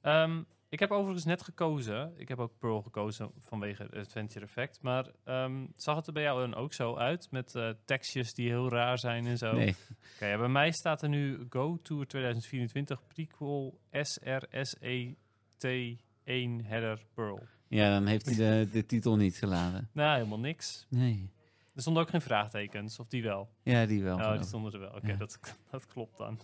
[SPEAKER 4] Ehm, ik heb overigens net gekozen. Ik heb ook Pearl gekozen vanwege het Adventure Effect. Maar ehm, zag het er bij jou dan ook zo uit? Met eh, tekstjes die heel raar zijn en zo?
[SPEAKER 3] Nee.
[SPEAKER 4] Oké, ja, bij mij staat er nu Go Tour 2024 prequel SRSET1 E header Pearl.
[SPEAKER 3] Ja, dan heeft hij de, de titel niet geladen.
[SPEAKER 4] Nou, helemaal niks.
[SPEAKER 3] Nee.
[SPEAKER 4] Er stonden ook geen vraagtekens, of die wel?
[SPEAKER 3] Ja, die wel.
[SPEAKER 4] Oh,
[SPEAKER 3] geloof
[SPEAKER 4] die
[SPEAKER 3] ik.
[SPEAKER 4] stonden er wel. Oké,
[SPEAKER 3] Ja.
[SPEAKER 4] dat, dat klopt dan.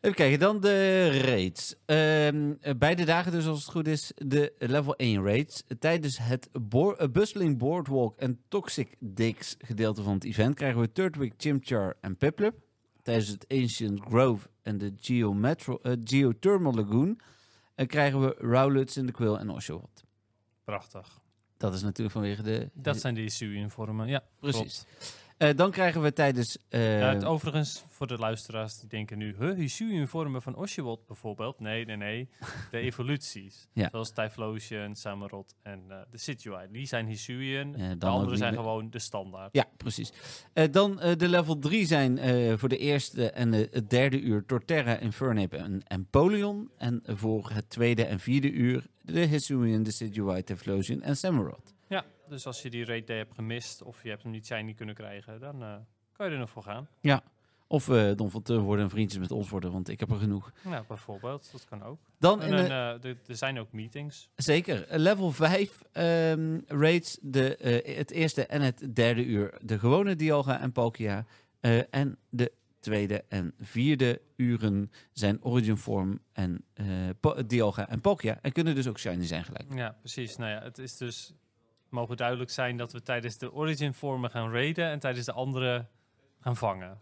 [SPEAKER 3] Even kijken, dan de raids. Ehm, eh, beide dagen dus, als het goed is, de level 1 raids. Tijdens het boor- eh, Bustling Boardwalk en Toxic Dicks gedeelte van het event... krijgen we Turtwig, Chimchar en Piplup. Tijdens het Ancient Grove en de Geometro, eh, Geothermal Lagoon... eh, krijgen we Rowlets in de Quill en Oshawott.
[SPEAKER 4] Prachtig.
[SPEAKER 3] Dat is natuurlijk vanwege de...
[SPEAKER 4] Dat zijn die SU-informen, ja.
[SPEAKER 3] Precies. Eh, dan krijgen we tijdens... eh,
[SPEAKER 4] Ja, het, overigens, voor de luisteraars die denken nu... Huh, die SU-informen van Oshawott bijvoorbeeld? Nee, nee, nee. De evoluties.
[SPEAKER 3] Ja.
[SPEAKER 4] Zoals Typhlosion, Samurott en eh, de Situai. Die zijn Hisuian.
[SPEAKER 3] eh, dan
[SPEAKER 4] de
[SPEAKER 3] ook
[SPEAKER 4] andere
[SPEAKER 3] niet
[SPEAKER 4] zijn
[SPEAKER 3] meer-
[SPEAKER 4] gewoon de standaard.
[SPEAKER 3] Ja, precies. Eh, dan eh, de level 3 zijn eh, voor de eerste en eh, het derde uur Torterra, Infernape en Empoleon. En voor het tweede en vierde uur de Hisuian, Decidueye, Teflosion en Samurott.
[SPEAKER 4] Ja, dus als je die raid day hebt gemist... of je hebt hem niet shiny kunnen krijgen... dan eh, kan je er nog voor gaan.
[SPEAKER 3] Of eh Don van Teun worden en vriendjes met ons worden, want ik heb er genoeg.
[SPEAKER 4] Nou, bijvoorbeeld. Dat kan ook.
[SPEAKER 3] Dan
[SPEAKER 4] En,
[SPEAKER 3] in, eh,
[SPEAKER 4] dan, eh, er- er zijn ook meetings.
[SPEAKER 3] zeker, eh, level 5 ehm, raids de, eh, het eerste en het derde uur de gewone Dialga en Palkia. eh, en de tweede en vierde uren zijn Origin Form en eh, Pa- Dialga en Palkia. En kunnen dus ook shiny zijn gelijk.
[SPEAKER 4] Ja, precies. Nou ja, het is dus mogen duidelijk zijn dat we tijdens de origin vormen gaan raiden en tijdens de andere gaan vangen.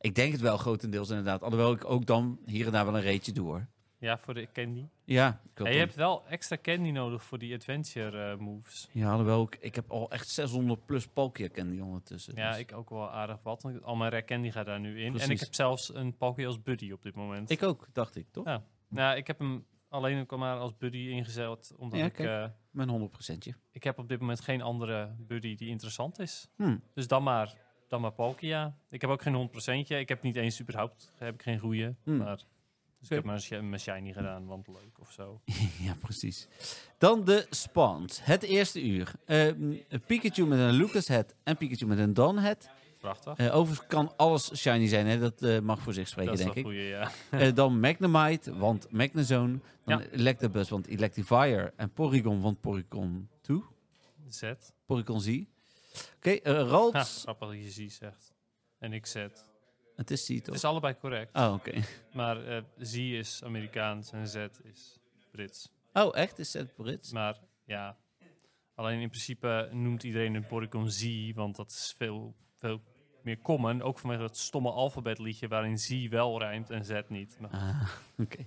[SPEAKER 3] Ik denk het wel grotendeels inderdaad. Alhoewel ik ook dan hier en daar wel een reetje doe hoor.
[SPEAKER 4] Ja, voor de candy.
[SPEAKER 3] Ja, ik wil
[SPEAKER 4] Ja, je
[SPEAKER 3] dan-
[SPEAKER 4] hebt wel extra candy nodig voor die adventure eh, moves.
[SPEAKER 3] ja alhoewel ik, ik heb al echt 600 plus Palkia candy ondertussen.
[SPEAKER 4] Ja,
[SPEAKER 3] dus-
[SPEAKER 4] ik ook wel aardig wat. want Al mijn rare candy gaat daar nu in. En ik
[SPEAKER 3] Precies.
[SPEAKER 4] heb zelfs een Palkia als buddy op dit moment.
[SPEAKER 3] ik ook, dacht ik toch?
[SPEAKER 4] Ja. Nou, ik heb hem alleen ook al maar als buddy ingezet, omdat
[SPEAKER 3] Ja,
[SPEAKER 4] ik...
[SPEAKER 3] kijk.
[SPEAKER 4] eh,
[SPEAKER 3] Mijn 100%je.
[SPEAKER 4] ik heb op dit moment geen andere buddy die interessant is.
[SPEAKER 3] Hmm.
[SPEAKER 4] Dus dan maar, dan maar Palkia. Ik heb ook geen 100%. Ik heb niet eens überhaupt heb ik geen goede.
[SPEAKER 3] Hmm.
[SPEAKER 4] Maar, dus ik
[SPEAKER 3] Oké.
[SPEAKER 4] heb maar een mijn shiny gedaan, want leuk of zo.
[SPEAKER 3] ja, precies. Dan de spawns. Het eerste uur. Eh, m, Pikachu met een Lucas head en Pikachu met een Don head.
[SPEAKER 4] Prachtig.
[SPEAKER 3] Eh, overigens kan alles shiny zijn, hè? dat eh, mag voor zich spreken,
[SPEAKER 4] dat is
[SPEAKER 3] denk
[SPEAKER 4] wel
[SPEAKER 3] ik.
[SPEAKER 4] goeie, ja.
[SPEAKER 3] Eh, dan Magnemite, want Magnezone. Dan
[SPEAKER 4] Ja.
[SPEAKER 3] Electabuzz, want Electifier. En Porygon, want Porygon 2.
[SPEAKER 4] Zet.
[SPEAKER 3] Porygon Z. Oké, eh
[SPEAKER 4] Ha,
[SPEAKER 3] Ralts.
[SPEAKER 4] grappig dat je Z zegt. En ik zet.
[SPEAKER 3] Het is die
[SPEAKER 4] Het
[SPEAKER 3] toch?
[SPEAKER 4] is allebei correct.
[SPEAKER 3] Oh, oké.
[SPEAKER 4] Maar eh, Z is Amerikaans en Z is Brits.
[SPEAKER 3] Oh, echt? Is het Brits?
[SPEAKER 4] Maar ja, alleen in principe noemt iedereen een Porygon Z, want dat is veel, veel meer common. Ook vanwege dat stomme alfabetliedje waarin Z wel rijmt en Z niet. Maar-
[SPEAKER 3] Ah, oké.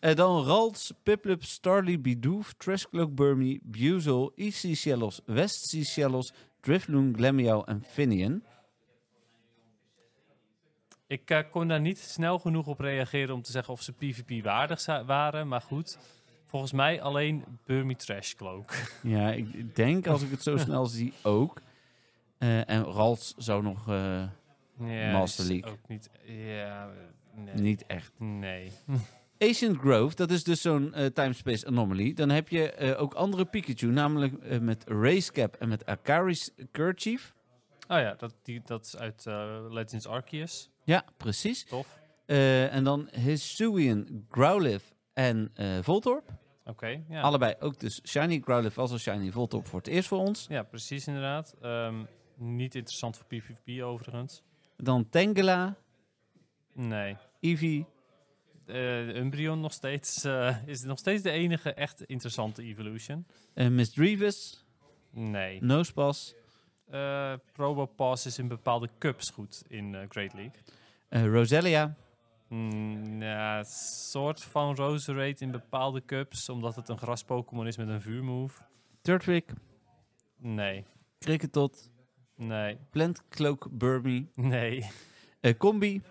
[SPEAKER 3] Eh, dan Ralts, Piplup, Starly, Bidoof, Trashcloak, Burmy, Buzel, East Shellos, West Shellos, Drifloon, Glamiao en Finian.
[SPEAKER 4] Ik eh, kon daar niet snel genoeg op reageren om te zeggen of ze PvP waardig za- waren. Maar goed, volgens mij alleen Burmy Trash Cloak.
[SPEAKER 3] Ja, ik denk als ik het zo snel zie ook. Eh, en Ralts zou nog eh,
[SPEAKER 4] Ja,
[SPEAKER 3] Master
[SPEAKER 4] is
[SPEAKER 3] League.
[SPEAKER 4] Ook niet. Ja, eh, nee.
[SPEAKER 3] niet echt.
[SPEAKER 4] Nee.
[SPEAKER 3] Ancient Grove, dat is dus zo'n eh, time-space anomaly. Dan heb je eh, ook andere Pikachu, namelijk eh, met Racecap en met Akari's Kerchief.
[SPEAKER 4] Oh ja, dat, die, dat is uit eh, Legends Arceus.
[SPEAKER 3] Ja, precies.
[SPEAKER 4] Tof.
[SPEAKER 3] Eh, en dan Hisuian, Growlithe en eh Voltorb.
[SPEAKER 4] Oké, ja.
[SPEAKER 3] Allebei ook dus Shiny Growlithe was al Shiny Voltorb voor het eerst voor ons.
[SPEAKER 4] Ja, precies inderdaad. Ehm, niet interessant voor PvP overigens.
[SPEAKER 3] Dan Tangela,
[SPEAKER 4] Nee.
[SPEAKER 3] Eevee.
[SPEAKER 4] Eh Umbreon nog steeds, eh, is nog steeds de enige echt interessante evolution.
[SPEAKER 3] eh Misdreavus,
[SPEAKER 4] Nee.
[SPEAKER 3] Nosepass,
[SPEAKER 4] Eh Probopass is in bepaalde cups goed in eh, Great League.
[SPEAKER 3] eh, Roselia.
[SPEAKER 4] Mm, ja, soort van Roserade in bepaalde cups, omdat het een gras-Pokémon is met een vuurmove.
[SPEAKER 3] Turtwig,
[SPEAKER 4] Nee,
[SPEAKER 3] Cricketot,
[SPEAKER 4] nee,
[SPEAKER 3] Plantcloak, Burmy,
[SPEAKER 4] nee,
[SPEAKER 3] eh, Combi,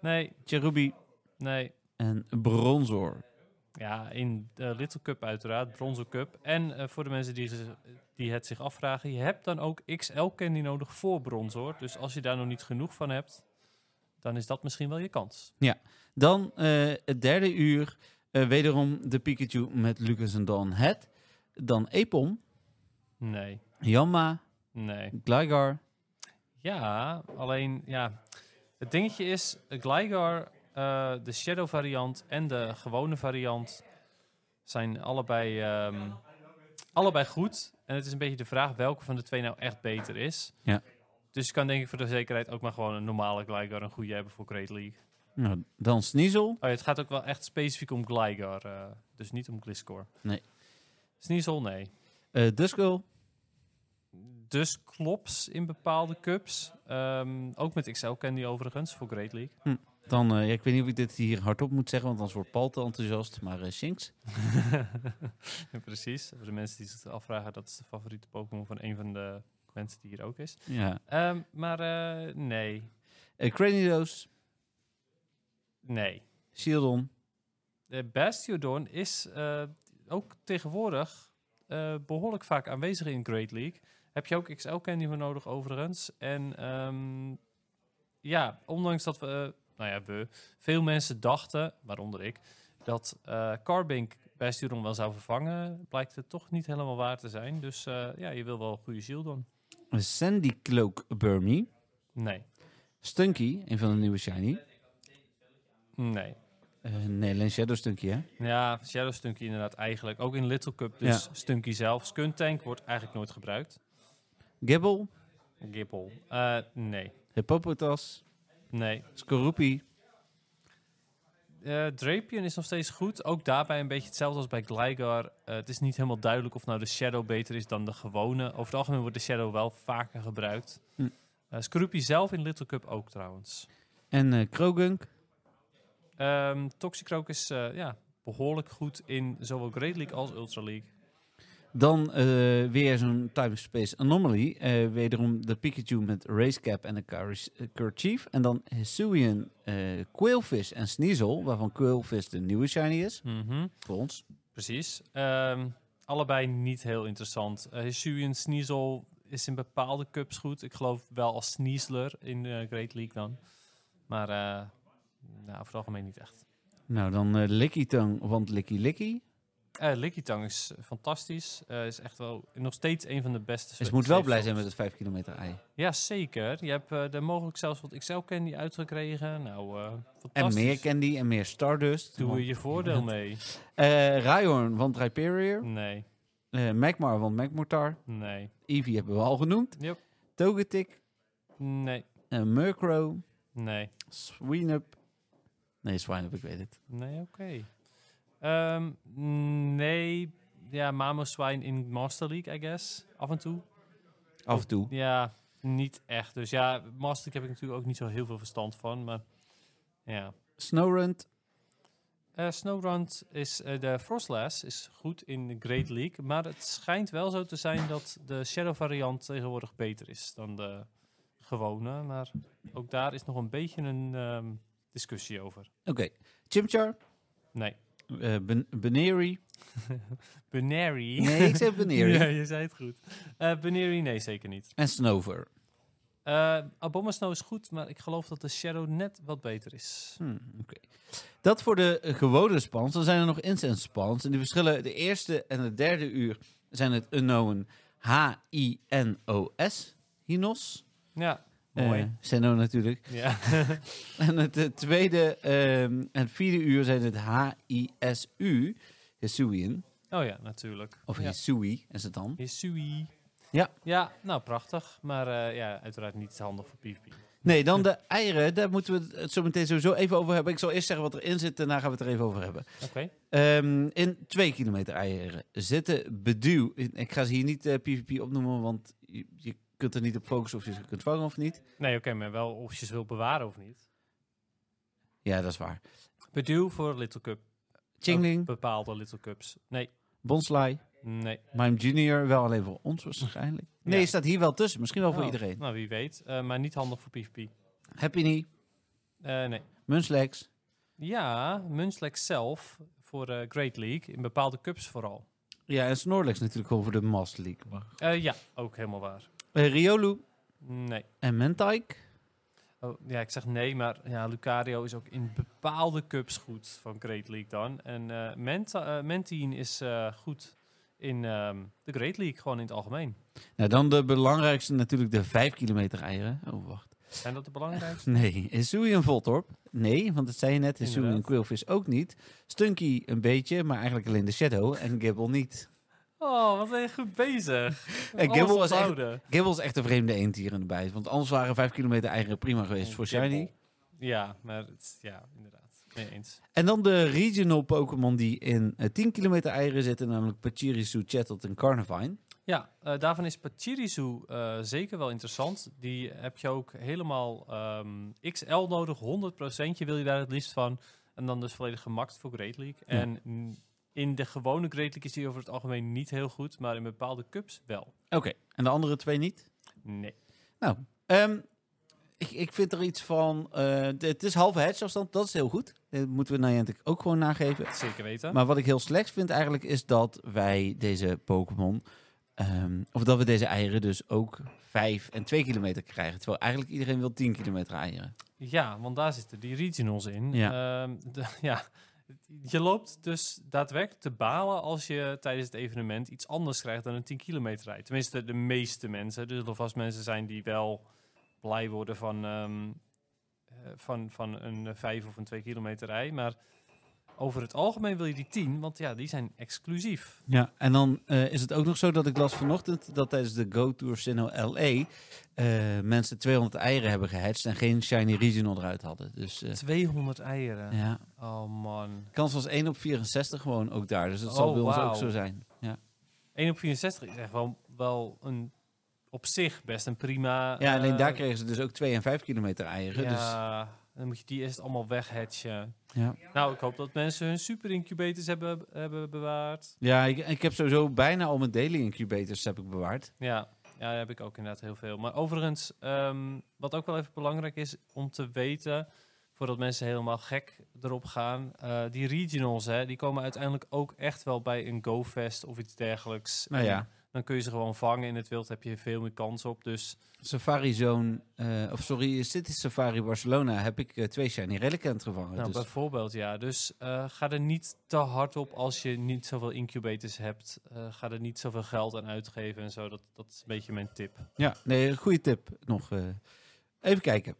[SPEAKER 4] nee,
[SPEAKER 3] Cherubi
[SPEAKER 4] nee.
[SPEAKER 3] en Bronzor.
[SPEAKER 4] Ja, in de Little Cup uiteraard, Bronzen Cup. En eh, voor de mensen die, ze- die het zich afvragen, je hebt dan ook XL-candy nodig voor brons hoor. Dus als je daar nog niet genoeg van hebt, dan is dat misschien wel je kans.
[SPEAKER 3] Dan eh, het derde uur, eh, wederom de Pikachu met Lucas en Dan Het. Dan Epom,
[SPEAKER 4] Nee,
[SPEAKER 3] Yamma,
[SPEAKER 4] nee.
[SPEAKER 3] Gligar.
[SPEAKER 4] Ja, alleen ja. Het dingetje is, eh, Gligar, eh, de Shadow variant en de gewone variant zijn allebei, ehm, allebei goed. En het is een beetje de vraag welke van de twee nou echt beter is.
[SPEAKER 3] Ja.
[SPEAKER 4] Dus je kan denk ik voor de zekerheid ook maar gewoon een normale Gligar een goede hebben voor Great League.
[SPEAKER 3] Nou, dan Sneasel,
[SPEAKER 4] Oh ja, het gaat ook wel echt specifiek om Gligar, eh, dus niet om Gliscor.
[SPEAKER 3] Nee.
[SPEAKER 4] Sneasel, nee.
[SPEAKER 3] eh Duskull,
[SPEAKER 4] Dus klops in bepaalde cups. Ehm, ook met XL Candy overigens, voor Great League.
[SPEAKER 3] Dan, eh, ja, ik weet niet of ik dit hier hardop moet zeggen, want anders wordt Paul te enthousiast. Maar eh, Shinx.
[SPEAKER 4] Ja, Precies. Voor de mensen die zich afvragen, dat is de favoriete Pokémon van een van de mensen die hier ook is.
[SPEAKER 3] Ja.
[SPEAKER 4] Ehm, maar eh, nee.
[SPEAKER 3] Eh Cranidos,
[SPEAKER 4] Nee.
[SPEAKER 3] Shieldon.
[SPEAKER 4] De Bastiodon is eh, ook tegenwoordig eh, behoorlijk vaak aanwezig in Great League. Heb je ook XL Candy voor nodig, overigens. En ehm, ja, ondanks dat we, eh, nou ja, we, veel mensen dachten, waaronder ik, dat eh Carbink Bastiodon wel zou vervangen, blijkt het toch niet helemaal waar te zijn. Dus eh, ja, je wil wel een goede Shieldon.
[SPEAKER 3] Sandy Cloak Burmy.
[SPEAKER 4] Nee.
[SPEAKER 3] Stunky, een van de nieuwe Shiny.
[SPEAKER 4] Nee.
[SPEAKER 3] Eh nee, alleen Shadow Stunky, hè?
[SPEAKER 4] Ja, Shadow Stunky inderdaad eigenlijk. Ook in Little Cup dus Stunky zelf. Skuntank wordt eigenlijk nooit gebruikt.
[SPEAKER 3] Gibble,
[SPEAKER 4] Gippel. Eh, nee.
[SPEAKER 3] Hippopotas,
[SPEAKER 4] Nee.
[SPEAKER 3] Skorupi.
[SPEAKER 4] Eh Drapion is nog steeds goed. Ook daarbij een beetje hetzelfde als bij Gligar. Eh, het is niet helemaal duidelijk of nou de Shadow beter is dan de gewone. Over het algemeen wordt de Shadow wel vaker gebruikt.
[SPEAKER 3] Hm.
[SPEAKER 4] Eh, Scroopy zelf in Little Cup ook trouwens.
[SPEAKER 3] en eh Krogunk.
[SPEAKER 4] Ehm Toxicroak is eh, ja, behoorlijk goed in zowel Great League als Ultra League.
[SPEAKER 3] Dan eh, weer zo'n Time Space Anomaly. Eh, wederom de Pikachu met Racecap en een Karis- eh, Kerchief. En dan Hisuian, eh Quailfish en Sneasel, waarvan Quailfish de nieuwe Shiny is.
[SPEAKER 4] Mhm.
[SPEAKER 3] Voor ons.
[SPEAKER 4] Precies. Ehm, allebei niet heel interessant. Uh, Hisuian Sneasel is in bepaalde cups goed. Ik geloof wel als Sneasler in eh Great League dan. Maar eh nou, over het algemeen niet echt.
[SPEAKER 3] Nou, dan eh Lickitung, want Dus Likkie Likkie.
[SPEAKER 4] Eh Lickitung is fantastisch. Eh, is echt wel nog steeds een van de beste.
[SPEAKER 3] Dus
[SPEAKER 4] soort
[SPEAKER 3] je moet wel blij zijn
[SPEAKER 4] sleepsops.
[SPEAKER 3] met het 5 kilometer ei.
[SPEAKER 4] Ja, zeker. Je hebt eh er mogelijk zelfs wat XL Candy uitgekregen. Nou, eh
[SPEAKER 3] En
[SPEAKER 4] fantastisch.
[SPEAKER 3] meer candy en meer Stardust.
[SPEAKER 4] Doe je je voordeel mee? Mm.
[SPEAKER 3] Eh, Rhyhorn, want Rhyperior.
[SPEAKER 4] Nee,
[SPEAKER 3] Eh Magmar, want Magmortar.
[SPEAKER 4] nee,
[SPEAKER 3] Eevee hebben we al genoemd.
[SPEAKER 4] Yep.
[SPEAKER 3] Togetic.
[SPEAKER 4] nee,
[SPEAKER 3] eh, Murkrow.
[SPEAKER 4] nee.
[SPEAKER 3] Sweenup. Nee, Swineup, ik weet het.
[SPEAKER 4] Nee, oké. Ehm, nee, ja, Mamoswijn in Master League, I guess. Af en toe.
[SPEAKER 3] Af en toe.
[SPEAKER 4] Ja, niet echt. Dus ja, Mastic heb ik natuurlijk ook niet zo heel veel verstand van. Maar ja.
[SPEAKER 3] Snowrun
[SPEAKER 4] Eh Snowrun is, eh, de Frostlass is goed in de Great League. Maar het schijnt wel zo te zijn dat de Shadow variant tegenwoordig beter is dan de gewone. Maar ook daar is nog een beetje een ehm, discussie over.
[SPEAKER 3] Oké. Chimchar.
[SPEAKER 4] Nee.
[SPEAKER 3] eh ben Beneri.
[SPEAKER 4] Benary.
[SPEAKER 3] Nee, ik zeg Beneri.
[SPEAKER 4] ja, je zei het goed. Eh Benary, nee, zeker niet.
[SPEAKER 3] En Snover.
[SPEAKER 4] Eh Abomma Snow is goed, maar ik geloof dat de Shadow net wat beter is.
[SPEAKER 3] Hmm, oké. Dat voor de eh, gewone spans. Dan zijn er nog incense spans. En die verschillen de eerste en het derde uur zijn het unknown H-I-N-O-S. Hinos.
[SPEAKER 4] Ja,
[SPEAKER 3] Eh,
[SPEAKER 4] mooi.
[SPEAKER 3] Zeno natuurlijk.
[SPEAKER 4] ja.
[SPEAKER 3] En het eh, tweede ehm, en vierde uur zijn het H-I-S-U. Hisuian.
[SPEAKER 4] oh ja, natuurlijk.
[SPEAKER 3] Of
[SPEAKER 4] ja.
[SPEAKER 3] Hisui is het dan.
[SPEAKER 4] Hisui.
[SPEAKER 3] Ja.
[SPEAKER 4] Ja, nou prachtig. Maar eh, ja, uiteraard niet handig voor PvP.
[SPEAKER 3] Nee, dan de eieren. Daar moeten we het zo meteen sowieso even over hebben. Ik zal eerst zeggen wat erin zit. Daarna gaan we het er even over hebben.
[SPEAKER 4] Oké.
[SPEAKER 3] Ehm, in twee kilometer eieren zitten beduw. Ik ga ze hier niet eh, PvP opnoemen, want je, je kunt er niet op focussen of je ze kunt vangen of niet.
[SPEAKER 4] Nee, oké, maar wel of je ze wil bewaren of niet.
[SPEAKER 3] Ja, dat is waar.
[SPEAKER 4] Beduw voor Little Cup. Ook
[SPEAKER 3] Chingling,
[SPEAKER 4] Bepaalde Little Cups. Nee,
[SPEAKER 3] Bonsly,
[SPEAKER 4] nee.
[SPEAKER 3] Mime Junior, wel alleen voor ons waarschijnlijk. Nee,
[SPEAKER 4] Ja.
[SPEAKER 3] staat hier wel tussen. Misschien wel voor
[SPEAKER 4] Oh,
[SPEAKER 3] iedereen.
[SPEAKER 4] Nou, wie weet. Eh, maar niet handig voor PvP. Eh,
[SPEAKER 3] Happy Knee,
[SPEAKER 4] nee.
[SPEAKER 3] Munslex.
[SPEAKER 4] Ja, Munchlax zelf voor eh, Great League. In bepaalde cups vooral.
[SPEAKER 3] Ja, en Snorlax natuurlijk gewoon voor de Mast League.
[SPEAKER 4] Eh, ja, ook helemaal waar.
[SPEAKER 3] Eh, Riolu
[SPEAKER 4] Nee.
[SPEAKER 3] en Mentike.
[SPEAKER 4] Oh, ja, ik zeg nee, maar ja, Lucario is ook in bepaalde cups goed van Great League dan. En eh Menta, eh, Mentien is eh, goed in ehm, de Great League, gewoon in het algemeen.
[SPEAKER 3] Nou, dan de belangrijkste natuurlijk de vijf kilometer eieren. Oh, wacht.
[SPEAKER 4] Zijn dat de belangrijkste?
[SPEAKER 3] Nee, Izui en Voltorb. Nee, want dat zei je net, Izui en
[SPEAKER 4] Inderdaad.
[SPEAKER 3] Quillfish ook niet. Stunky een beetje, maar eigenlijk alleen de Shadow en Gibble niet.
[SPEAKER 4] Oh, wat ben je goed bezig.
[SPEAKER 3] En
[SPEAKER 4] Alles
[SPEAKER 3] Gibble was echt,
[SPEAKER 4] onthouden.
[SPEAKER 3] Gibble is echt een vreemde eend hier in de bijt, want anders waren vijf kilometer eieren prima geweest voor
[SPEAKER 4] Gibble.
[SPEAKER 3] Shiny.
[SPEAKER 4] Ja, maar het, is- ja, inderdaad. Mee eens.
[SPEAKER 3] En dan de regional Pokémon die in eh, 10 kilometer eieren zitten, namelijk Pachirisu, Chatot en Carnivine.
[SPEAKER 4] Ja, eh, daarvan is Pachirisu eh, zeker wel interessant. Die heb je ook helemaal ehm, XL nodig, 100%. Je wil je daar het liefst van. En dan dus volledig gemakt voor Great League.
[SPEAKER 3] Ja.
[SPEAKER 4] En mm, in de gewone Great League is die over het algemeen niet heel goed, maar in bepaalde cups wel.
[SPEAKER 3] Oké, en de andere twee niet?
[SPEAKER 4] Nee.
[SPEAKER 3] Nou, ehm, ik, ik vind er iets van, eh, d- het is halve hedgeafstand, dat is heel goed. Dat moeten we Niantic ook gewoon nageven.
[SPEAKER 4] Zeker weten.
[SPEAKER 3] Maar wat ik heel slecht vind eigenlijk is dat wij deze Pokémon. ehm, of dat we deze eieren dus ook 5 en 2 kilometer krijgen. Terwijl eigenlijk iedereen wil 10 kilometer eieren.
[SPEAKER 4] Ja, want daar zitten die regionals in. Ja. ja. Je loopt dus daadwerkelijk te balen als je tijdens het evenement iets anders krijgt dan een 10 kilometer rijdt. Tenminste, de meeste mensen. Er zullen vast mensen zijn die wel blij worden van, ehm, eh, van, van een eh, 5 of een 2 kilometer rij. Maar over het algemeen wil je die 10, want ja, die zijn exclusief.
[SPEAKER 3] Ja, en dan eh, is het ook nog zo dat ik las vanochtend dat tijdens de Go Tour Sinnoh LA eh, mensen 200 eieren hebben gehedged en geen Shiny Regional eruit hadden. Dus eh,
[SPEAKER 4] 200 eieren.
[SPEAKER 3] ja,
[SPEAKER 4] Oh man.
[SPEAKER 3] kans was 1 op 64 gewoon ook daar. Dus dat zal
[SPEAKER 4] Oh,
[SPEAKER 3] bij ons
[SPEAKER 4] wauw.
[SPEAKER 3] ook zo zijn. Ja,
[SPEAKER 4] 1 op 64 is echt wel, wel een, op zich best een prima...
[SPEAKER 3] ja alleen
[SPEAKER 4] eh,
[SPEAKER 3] daar kregen ze dus ook 2 en 5 kilometer eieren. Dus,
[SPEAKER 4] Ja, dan moet je die eerst allemaal weghedgen.
[SPEAKER 3] ja.
[SPEAKER 4] Nou, ik hoop dat mensen hun super incubators hebben, hebben bewaard.
[SPEAKER 3] Ja, ik, ik heb sowieso bijna al mijn daily incubators heb ik bewaard.
[SPEAKER 4] Ja, ja, daar heb ik ook inderdaad heel veel. Maar overigens, ehm, wat ook wel even belangrijk is om te weten, voordat mensen helemaal gek erop gaan, eh, die regionals, hè, die komen uiteindelijk ook echt wel bij een GoFest of iets dergelijks.
[SPEAKER 3] Nou
[SPEAKER 4] En
[SPEAKER 3] ja,
[SPEAKER 4] Dan kun je ze gewoon vangen in het wild, heb je veel meer kans op. Dus
[SPEAKER 3] Safari Zone, eh, of sorry, City Safari Barcelona heb ik eh, twee Shiny Relicant gevangen.
[SPEAKER 4] Nou,
[SPEAKER 3] dus
[SPEAKER 4] bijvoorbeeld, ja. Dus eh, ga er niet te hard op als je niet zoveel incubators hebt. Eh, ga er niet zoveel geld aan uitgeven en zo. Dat, dat is een beetje mijn tip.
[SPEAKER 3] ja, nee, goede tip nog. eh. even kijken.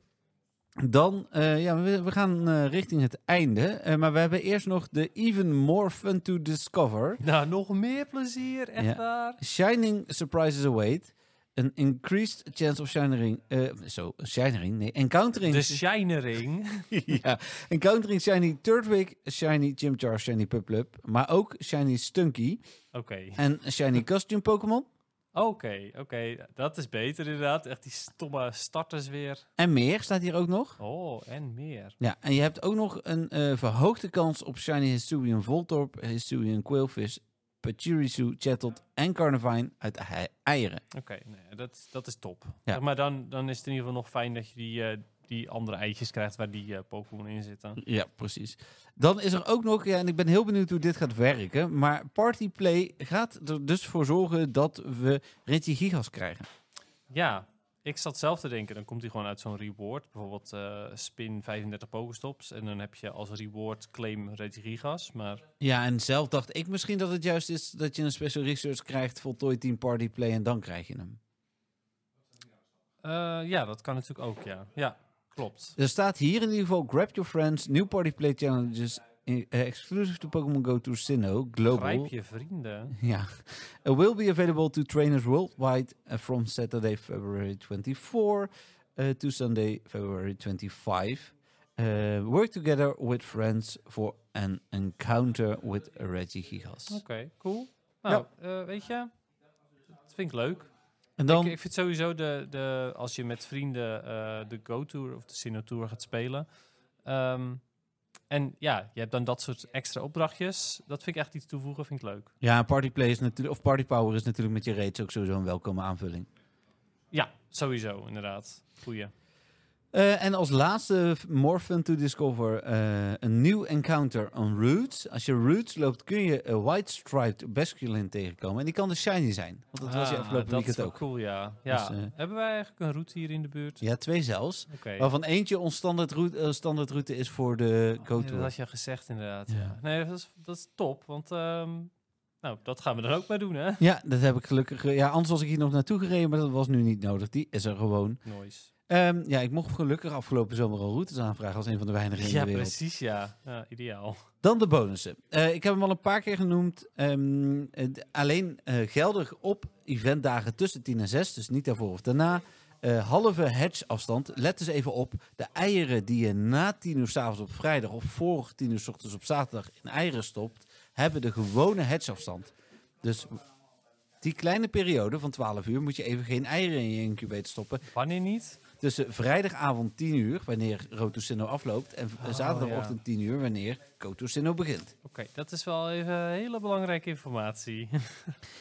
[SPEAKER 3] Dan, eh, ja, we, we gaan eh, richting het einde. eh, maar we hebben eerst nog de Even More Fun to Discover.
[SPEAKER 4] Nou, nog meer plezier, echt
[SPEAKER 3] Ja.
[SPEAKER 4] waar.
[SPEAKER 3] Shining Surprises Await. An increased chance of shining, eh, zo, shining, nee, encountering.
[SPEAKER 4] De Shinering.
[SPEAKER 3] ja, en countering Shiny Turtwig, Shiny Chimchar, Shiny Piplup, maar ook Shiny Stunky
[SPEAKER 4] Oké.
[SPEAKER 3] en Shiny Costume Pokémon.
[SPEAKER 4] Oké, oké. Dat is beter inderdaad. Echt die stomme starters weer.
[SPEAKER 3] En meer staat hier ook nog.
[SPEAKER 4] Oh, en meer.
[SPEAKER 3] Ja, en je hebt ook nog een eh, verhoogde kans op Shiny Histurian Voltorb, Histurian Quailfish, Pachirisu, Chatot en Carnivine uit ei- eieren.
[SPEAKER 4] Oké, nee, dat, dat is top. Zeg maar dan, dan is het in ieder geval nog fijn dat je die, eh, die andere eitjes krijgt waar die eh, Pokémon in zitten.
[SPEAKER 3] Ja, precies. Dan is er ook nog, ja, en ik ben heel benieuwd hoe dit gaat werken, maar Party Play gaat er dus voor zorgen dat we Retigigas krijgen.
[SPEAKER 4] Ja, ik zat zelf te denken, dan komt hij gewoon uit zo'n reward. Bijvoorbeeld eh, spin 35 Pokestops. En dan heb je als reward claim Retigigas. Maar
[SPEAKER 3] Ja, en zelf dacht ik misschien dat het juist is dat je een special research krijgt, voltooid team Party Play en dan krijg je hem.
[SPEAKER 4] eh, ja, dat kan natuurlijk ook, ja. Ja, klopt.
[SPEAKER 3] Er staat hier in ieder geval Grab Your Friends, New Party Play Challenges, eh, exclusive to Pokémon Go to Sinnoh, Global.
[SPEAKER 4] Grijp je vrienden.
[SPEAKER 3] Ja. It will be available to trainers worldwide uh, from Saturday, February 24 uh, to Sunday, February 25. Uh, work together with friends for an encounter with Regigigas.
[SPEAKER 4] Oké, cool. Nou, eh, weet je, dat vind ik leuk.
[SPEAKER 3] En dan,
[SPEAKER 4] Ik, ik vind sowieso, de, de, als je met vrienden eh, de Go-Tour of de Sino-Tour gaat spelen. ehm, en ja, je hebt dan dat soort extra opdrachtjes. Dat vind ik echt iets toevoegen, vind ik leuk.
[SPEAKER 3] ja, Party Play is natuurlijk, of Party Power is natuurlijk met je raids ook sowieso een welkome aanvulling.
[SPEAKER 4] Ja, sowieso, inderdaad. Goeie.
[SPEAKER 3] Eh, en als laatste, f- more fun to discover, eh, een nieuw encounter on Roots. Als je Roots loopt, kun je een White Striped Basculin tegenkomen. En die kan de shiny zijn. Want dat was je
[SPEAKER 4] Ah,
[SPEAKER 3] afgelopen
[SPEAKER 4] Dat is
[SPEAKER 3] weekend
[SPEAKER 4] wel
[SPEAKER 3] ook.
[SPEAKER 4] cool, ja. ja.
[SPEAKER 3] Dus, eh,
[SPEAKER 4] Hebben wij eigenlijk een route hier in de buurt?
[SPEAKER 3] Ja, twee zelfs.
[SPEAKER 4] Oké.
[SPEAKER 3] Waarvan eentje ons standaardroute, eh, standaardroute is voor de
[SPEAKER 4] Oh,
[SPEAKER 3] go
[SPEAKER 4] ja, Dat had je gezegd, inderdaad. Ja.
[SPEAKER 3] Ja.
[SPEAKER 4] Nee, dat is, dat is top, want ehm, nou, dat gaan we dan ook maar doen, hè?
[SPEAKER 3] Ja, dat heb ik gelukkig. eh, Ja, anders was ik hier nog naartoe gereden, maar dat was nu niet nodig. Die is er gewoon.
[SPEAKER 4] Noise.
[SPEAKER 3] Ehm, ja, ik mocht gelukkig afgelopen zomer al routes aanvragen als een van de weinigen in
[SPEAKER 4] Ja,
[SPEAKER 3] de wereld.
[SPEAKER 4] precies, ja. ja ideaal.
[SPEAKER 3] Dan de bonussen. Eh, ik heb hem al een paar keer genoemd. Ehm, eh, d- alleen eh, geldig op eventdagen tussen 10 en 6, dus niet daarvoor of daarna. Eh, halve hedge afstand. Let dus even op. De eieren die je na 10 uur 's avonds op vrijdag of voor 10 uur 's ochtends op zaterdag in eieren stopt, hebben de gewone hedge afstand. Dus die kleine periode van 12 uur moet je even geen eieren in je incubator stoppen.
[SPEAKER 4] Wanneer niet?
[SPEAKER 3] Tussen vrijdagavond 10 uur, wanneer Rotosino afloopt, en v- zaterdagochtend 10 uur, wanneer Cotosino begint.
[SPEAKER 4] Oké, dat is wel even hele belangrijke informatie.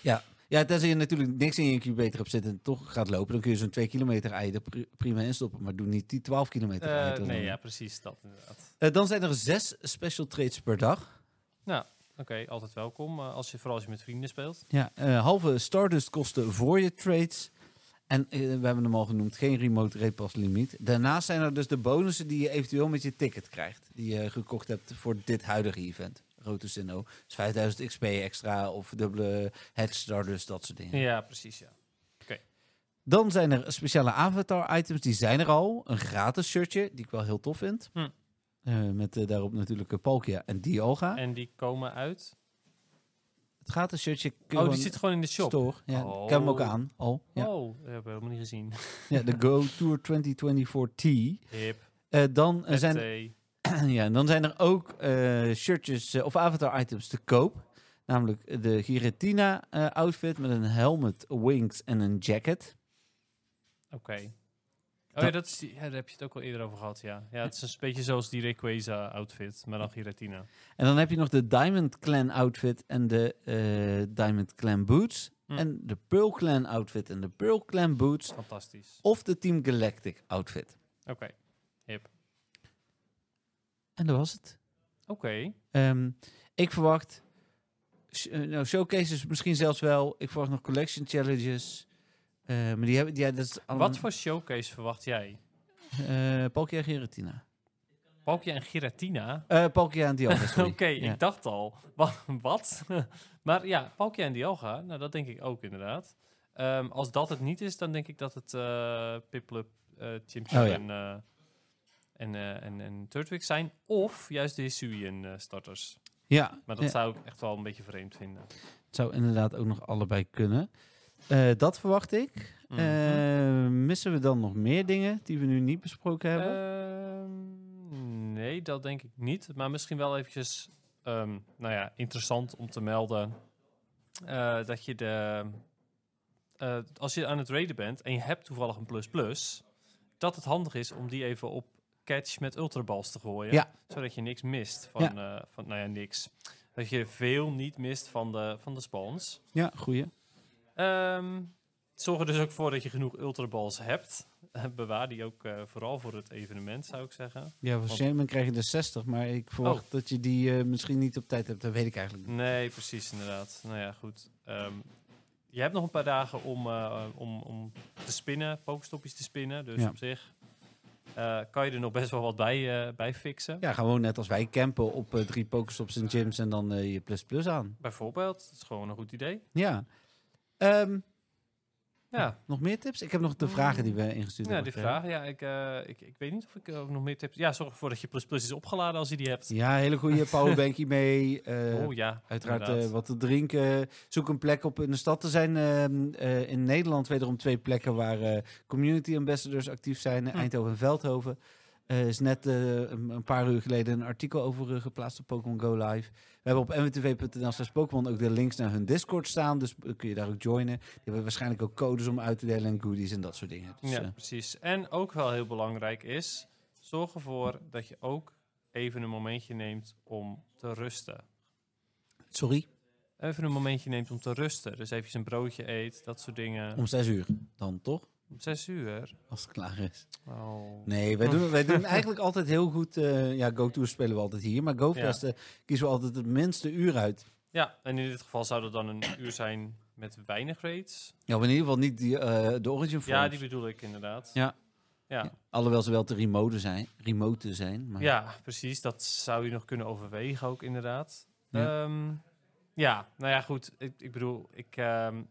[SPEAKER 3] Ja. Ja, tenzij je natuurlijk niks in je incubator hebt zitten en toch gaat lopen, dan kun je zo'n 2 kilometer ei er pri- prima in stoppen. Maar doe niet die 12 kilometer
[SPEAKER 4] Eh,
[SPEAKER 3] ei. er dan
[SPEAKER 4] nee,
[SPEAKER 3] in.
[SPEAKER 4] ja, precies dat inderdaad.
[SPEAKER 3] Eh, dan zijn er zes special trades per dag.
[SPEAKER 4] Nou, oké, altijd welkom. eh, als je, vooral als je met vrienden speelt.
[SPEAKER 3] Ja, eh, halve Stardust kosten voor je trades. En eh, we hebben hem al genoemd, geen remote repas limiet. Daarnaast zijn er dus de bonussen die je eventueel met je ticket krijgt. Die je gekocht hebt voor dit huidige event. Rotosino. Dus 5000 XP extra of dubbele head Stardust, dat soort dingen.
[SPEAKER 4] Ja, precies, ja.
[SPEAKER 3] Dan zijn er speciale avatar-items, die zijn er al. Een gratis shirtje, die ik wel heel tof vind.
[SPEAKER 4] Hm.
[SPEAKER 3] Eh, met eh, daarop natuurlijk eh, Palkia en Dialga.
[SPEAKER 4] En die komen uit.
[SPEAKER 3] Het gratis shirtje kun je
[SPEAKER 4] Oh, die
[SPEAKER 3] gewoon
[SPEAKER 4] zit gewoon in de shop.
[SPEAKER 3] store. Ja,
[SPEAKER 4] Oh.
[SPEAKER 3] Ik heb hem ook aan al. Ja.
[SPEAKER 4] Oh, dat hebben we helemaal niet gezien.
[SPEAKER 3] Ja, de Go Tour 2024T.
[SPEAKER 4] Hip,
[SPEAKER 3] Eh, dan, eh, zijn,
[SPEAKER 4] zijn...
[SPEAKER 3] ja, en dan zijn er ook eh, shirtjes eh, of avatar-items te koop. Namelijk de Giratina-outfit met een helmet, wings en een jacket.
[SPEAKER 4] Oké. Oh ja, dat is die- ja, daar heb je het ook al eerder over gehad, ja. Ja, het is een beetje zoals die Rayquaza-outfit, maar dan Giratina.
[SPEAKER 3] En dan heb je nog de Diamond Clan outfit en de eh, Diamond Clan boots.
[SPEAKER 4] Hm.
[SPEAKER 3] En de Pearl Clan outfit en de Pearl Clan boots.
[SPEAKER 4] Fantastisch.
[SPEAKER 3] Of de Team Galactic outfit.
[SPEAKER 4] Oké,
[SPEAKER 3] En dat was het.
[SPEAKER 4] oké.
[SPEAKER 3] Ehm, ik verwacht sh- eh, nou, showcases misschien zelfs wel. Ik verwacht nog collection challenges. Eh, maar die hebben... Ja, dat is allemaal,
[SPEAKER 4] Wat voor showcase verwacht jij?
[SPEAKER 3] eh, Palkia Giratina.
[SPEAKER 4] Palkia en Giratina?
[SPEAKER 3] Eh Palkia en Dialga,
[SPEAKER 4] Oké,
[SPEAKER 3] sorry. Ja.
[SPEAKER 4] ik dacht al. Wa- Wat? maar ja, Palkia en Dialga, nou dat denk ik ook inderdaad. Ehm, als dat het niet is, dan denk ik dat het eh Piplup, eh Chimchar
[SPEAKER 3] Oh ja.
[SPEAKER 4] en, eh en, eh, en, en Turtwig zijn. Of juist de Hisuian eh, starters.
[SPEAKER 3] ja.
[SPEAKER 4] Maar dat
[SPEAKER 3] ja.
[SPEAKER 4] zou ik echt wel een beetje vreemd vinden.
[SPEAKER 3] Het zou inderdaad ook nog allebei kunnen. Eh, dat verwacht ik.
[SPEAKER 4] Mhm.
[SPEAKER 3] Eh, missen we dan nog meer dingen die we nu niet besproken hebben?
[SPEAKER 4] Eh, Ehm, nee, dat denk ik niet. Maar misschien wel eventjes ehm, nou ja, interessant om te melden eh, dat je de eh, als je aan het raiden bent en je hebt toevallig een plus plus, dat het handig is om die even op catch met ultraballs te gooien.
[SPEAKER 3] Ja.
[SPEAKER 4] Zodat je niks mist van, eh, van, nou ja, niks. Dat je veel niet mist van de, van de spawns.
[SPEAKER 3] Ja, goeie.
[SPEAKER 4] Ehm, zorg er dus ook voor dat je genoeg ultraballs hebt. Bewaar die ook eh, vooral voor het evenement, zou ik zeggen.
[SPEAKER 3] Ja, voor
[SPEAKER 4] Want-
[SPEAKER 3] Shaman krijg je er 60, maar ik verwacht dat je die eh, misschien niet op tijd hebt. Dat weet ik eigenlijk niet.
[SPEAKER 4] Nee, precies inderdaad. Nou ja, goed. Ehm, je hebt nog een paar dagen om, eh, om, om te spinnen, pokestopjes te spinnen. Dus
[SPEAKER 3] Ja.
[SPEAKER 4] op zich eh, kan je er nog best wel wat bij, eh, bij fixen.
[SPEAKER 3] Ja, gewoon net als wij campen op eh, drie pokestops en gyms en dan eh, je plus plus aan.
[SPEAKER 4] Bijvoorbeeld, dat is gewoon een goed idee.
[SPEAKER 3] Ja. Ehm,
[SPEAKER 4] Ja,
[SPEAKER 3] nog meer tips? Ik heb nog de vragen Mm. die we ingestuurd
[SPEAKER 4] ja
[SPEAKER 3] hebben.
[SPEAKER 4] die vraag. Ja, ik, eh, ik, ik weet niet of ik eh, ook nog meer tips... Ja, zorg ervoor dat je plus plus is opgeladen als je die hebt.
[SPEAKER 3] Ja, hele goede powerbankie mee. eh,
[SPEAKER 4] oh ja,
[SPEAKER 3] Uiteraard eh,
[SPEAKER 4] inderdaad.
[SPEAKER 3] wat te drinken. Zoek een plek op in de stad. Er zijn ehm, eh, in Nederland wederom twee plekken waar eh, community ambassadors actief zijn.
[SPEAKER 4] Hm.
[SPEAKER 3] Eindhoven en Veldhoven. Er is net eh, een, een paar uur geleden een artikel over eh, geplaatst op Pokémon Go Live. We hebben op mwtv.nl slash Pokémon ook de links naar hun Discord staan. Dus eh, kun je daar ook joinen. Die hebben waarschijnlijk ook codes om uit te delen en goodies en dat soort dingen. Dus,
[SPEAKER 4] ja,
[SPEAKER 3] eh,
[SPEAKER 4] precies. En ook wel heel belangrijk is, zorg ervoor dat je ook even een momentje neemt om te rusten.
[SPEAKER 3] sorry,
[SPEAKER 4] even een momentje neemt om te rusten. Dus even een broodje eet, dat soort dingen.
[SPEAKER 3] om zes uur dan toch?
[SPEAKER 4] Om zes uur.
[SPEAKER 3] Als het klaar is.
[SPEAKER 4] Oh.
[SPEAKER 3] Nee, wij doen, wij doen eigenlijk altijd heel goed. eh, ja, GoTour spelen we altijd hier. Maar GoFest eh, kiezen we altijd het minste uur uit.
[SPEAKER 4] Ja, en in dit geval zou dat dan een uur zijn met weinig raids.
[SPEAKER 3] Ja, maar in ieder geval niet die, eh, de Origin Forms.
[SPEAKER 4] Ja, die bedoel ik inderdaad.
[SPEAKER 3] Ja.
[SPEAKER 4] Ja.
[SPEAKER 3] Alhoewel ze wel te remote zijn. Remote zijn maar
[SPEAKER 4] ja, precies. Dat zou je nog kunnen overwegen ook inderdaad.
[SPEAKER 3] Ja.
[SPEAKER 4] Ja, ja nou ja, goed. Ik, ik bedoel, ik ehm,